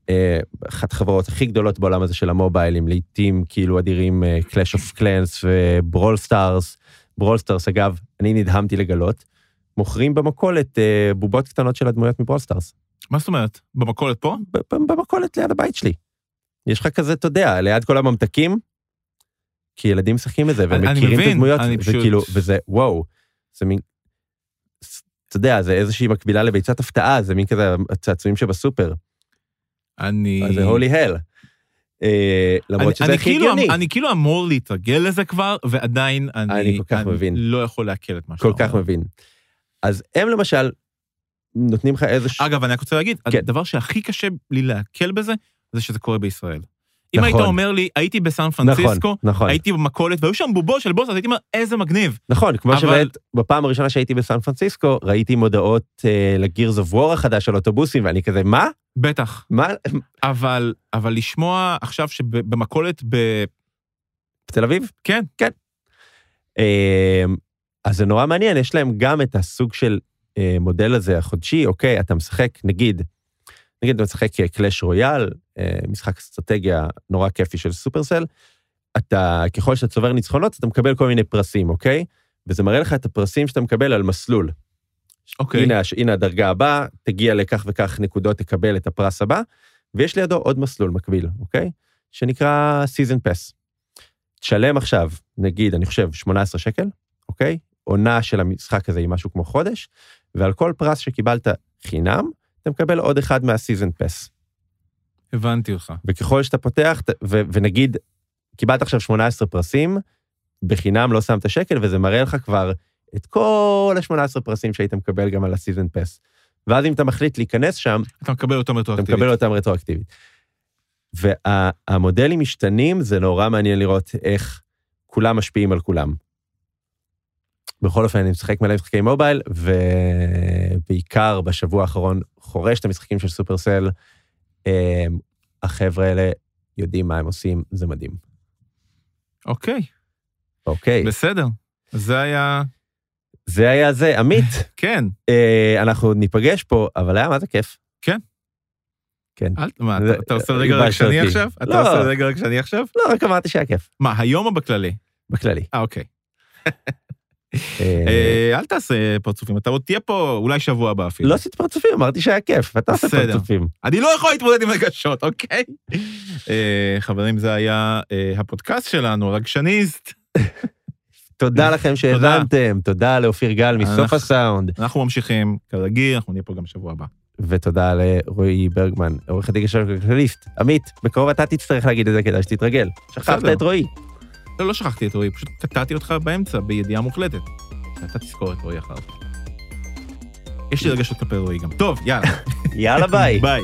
[SPEAKER 1] אה, אחת החברות הכי גדולות בעולם הזה של המוביילים, לעיתים כאילו אדירים קלאש אוף קלאנס וברול סטארס. ברול סטארס, אגב, אני נדהמתי לגלות, מוכרים במכולת אה, בובות קטנות של הדמויות מברול סטארס.
[SPEAKER 2] מה זאת אומרת? במכולת פה?
[SPEAKER 1] ב- ב- במכולת ליד הבית שלי. יש לך כזה, אתה יודע, ליד כל הממתקים, כי ילדים משחקים את זה, והם
[SPEAKER 2] אני- אני
[SPEAKER 1] מכירים את
[SPEAKER 2] מבין,
[SPEAKER 1] הדמויות,
[SPEAKER 2] אני פשוט-
[SPEAKER 1] וכאילו, וזה, וואו, זה מין... ס- אתה יודע, זה איזושהי מקבילה לביצת הפתעה, זה מין כזה הצעצועים שבסופר.
[SPEAKER 2] אני...
[SPEAKER 1] אז אה, זה הולי הל. למרות
[SPEAKER 2] אני-
[SPEAKER 1] שזה
[SPEAKER 2] אני
[SPEAKER 1] הכי
[SPEAKER 2] כאילו-
[SPEAKER 1] הגיוני.
[SPEAKER 2] אני כאילו אמור להתרגל לזה כבר, ועדיין אני...
[SPEAKER 1] אני כל כך
[SPEAKER 2] אני
[SPEAKER 1] מבין.
[SPEAKER 2] לא יכול לעכל את מה שאתה
[SPEAKER 1] כל
[SPEAKER 2] אומר.
[SPEAKER 1] כך מבין. אז הם למשל נותנים לך איזשהו...
[SPEAKER 2] אגב, אני רק רוצה להגיד,
[SPEAKER 1] כן.
[SPEAKER 2] הדבר שהכי קשה לי לעכל בזה, זה שזה קורה בישראל. אם
[SPEAKER 1] נכון.
[SPEAKER 2] היית אומר לי, הייתי בסן
[SPEAKER 1] נכון,
[SPEAKER 2] פרנסיסקו,
[SPEAKER 1] נכון,
[SPEAKER 2] הייתי במכולת, והיו שם בובו של בוס, אז הייתי אומר, איזה מגניב.
[SPEAKER 1] נכון, כמו
[SPEAKER 2] אבל-
[SPEAKER 1] שבאמת, בפעם הראשונה שהייתי בסן פרנסיסקו, ראיתי מודעות אה, לגירס אוף וור החדש על אוטובוסים, ואני כזה, מה?
[SPEAKER 2] בטח.
[SPEAKER 1] מה?
[SPEAKER 2] אבל, אבל לשמוע עכשיו שבמכולת ב...
[SPEAKER 1] בתל אביב?
[SPEAKER 2] כן.
[SPEAKER 1] אה, אז זה נורא מעניין, יש להם גם את הסוג של אה, מודל הזה החודשי, אוקיי, אתה משחק, נגיד, נגיד אתה משחק קלאש רויאל, אה, משחק אסטרטגיה נורא כיפי של סופרסל, אתה, ככל שאתה צובר ניצחונות, אתה מקבל כל מיני פרסים, אוקיי? וזה מראה לך את הפרסים שאתה מקבל על מסלול.
[SPEAKER 2] אוקיי.
[SPEAKER 1] הנה, הש- הנה הדרגה הבאה, תגיע לכך וכך נקודות, תקבל את הפרס הבא, ויש לידו עוד מסלול מקביל, אוקיי? שנקרא Season Pass. תשלם עכשיו, נגיד, אני חושב, 18 שקל, אוקיי? עונה של המשחק הזה היא משהו כמו חודש, ועל כל פרס שקיבלת חינם, אתה מקבל עוד אחד מה-Season Pass.
[SPEAKER 2] הבנתי אותך.
[SPEAKER 1] וככל שאתה פותח, ת- ו- ונגיד, קיבלת עכשיו 18 פרסים, בחינם לא שמת שקל, וזה מראה לך כבר את כל ה-18 פרסים שהיית מקבל גם על הסיזן פס. ואז אם אתה מחליט להיכנס שם,
[SPEAKER 2] אתה מקבל אותם
[SPEAKER 1] אתה
[SPEAKER 2] רטרואקטיבית.
[SPEAKER 1] מקבל אותם רטרואקטיבית. והמודלים משתנים, זה נורא מעניין לראות איך כולם משפיעים על כולם. בכל אופן, אני משחק מלא משחקי מובייל, ובעיקר בשבוע האחרון חורש את המשחקים של סופרסל. אה, החבר'ה האלה יודעים מה הם עושים, זה מדהים.
[SPEAKER 2] אוקיי,
[SPEAKER 1] אוקיי,
[SPEAKER 2] בסדר. זה היה...
[SPEAKER 1] זה היה זה. עמית,
[SPEAKER 2] כן.
[SPEAKER 1] אה, אנחנו עוד ניפגש פה, אבל היה מה זה כיף.
[SPEAKER 2] כן.
[SPEAKER 1] כן.
[SPEAKER 2] אל- מה, אתה-
[SPEAKER 1] זה-
[SPEAKER 2] אתה עושה רגע
[SPEAKER 1] ריגשת
[SPEAKER 2] רגשני
[SPEAKER 1] אותי.
[SPEAKER 2] עכשיו? אתה
[SPEAKER 1] לא.
[SPEAKER 2] עושה רגע רגשני עכשיו?
[SPEAKER 1] לא, רק אמרתי שהיה כיף,
[SPEAKER 2] מה, היום או בכללי?
[SPEAKER 1] בכללי.
[SPEAKER 2] אה, אוקיי.
[SPEAKER 1] אה,
[SPEAKER 2] אה, אל תעשה פרצופים, אתה עוד תהיה פה אולי שבוע הבא אפילו.
[SPEAKER 1] לא עשית פרצופים, אמרתי שהיה כיף, ואתה עושה
[SPEAKER 2] בסדר.
[SPEAKER 1] פרצופים.
[SPEAKER 2] אני לא יכול להתמודד עם רגשות, אוקיי? אה, חברים, זה היה אה, הפודקאסט שלנו, רגשניסט.
[SPEAKER 1] תודה לכם שהאזנתם, תודה לאופיר גל מסוף
[SPEAKER 2] אנחנו-
[SPEAKER 1] הסאונד,
[SPEAKER 2] אנחנו ממשיכים, כרגיל, אנחנו נהיה פה גם שבוע הבא.
[SPEAKER 1] ותודה לרועי ברגמן, עורך הדין של הכלכליסט. עמית, בקרוב אתה תצטרך להגיד את זה כדי שתתרגל. שכחת
[SPEAKER 2] בסדר.
[SPEAKER 1] את רועי.
[SPEAKER 2] לא, לא שכחתי את רועי, פשוט קטעתי אותך באמצע, בידיעה מוחלטת. אתה תזכור את רועי אחר כך. יש לי רגשות כלפי רועי גם. טוב, יאללה.
[SPEAKER 1] יאללה ביי.
[SPEAKER 2] ביי.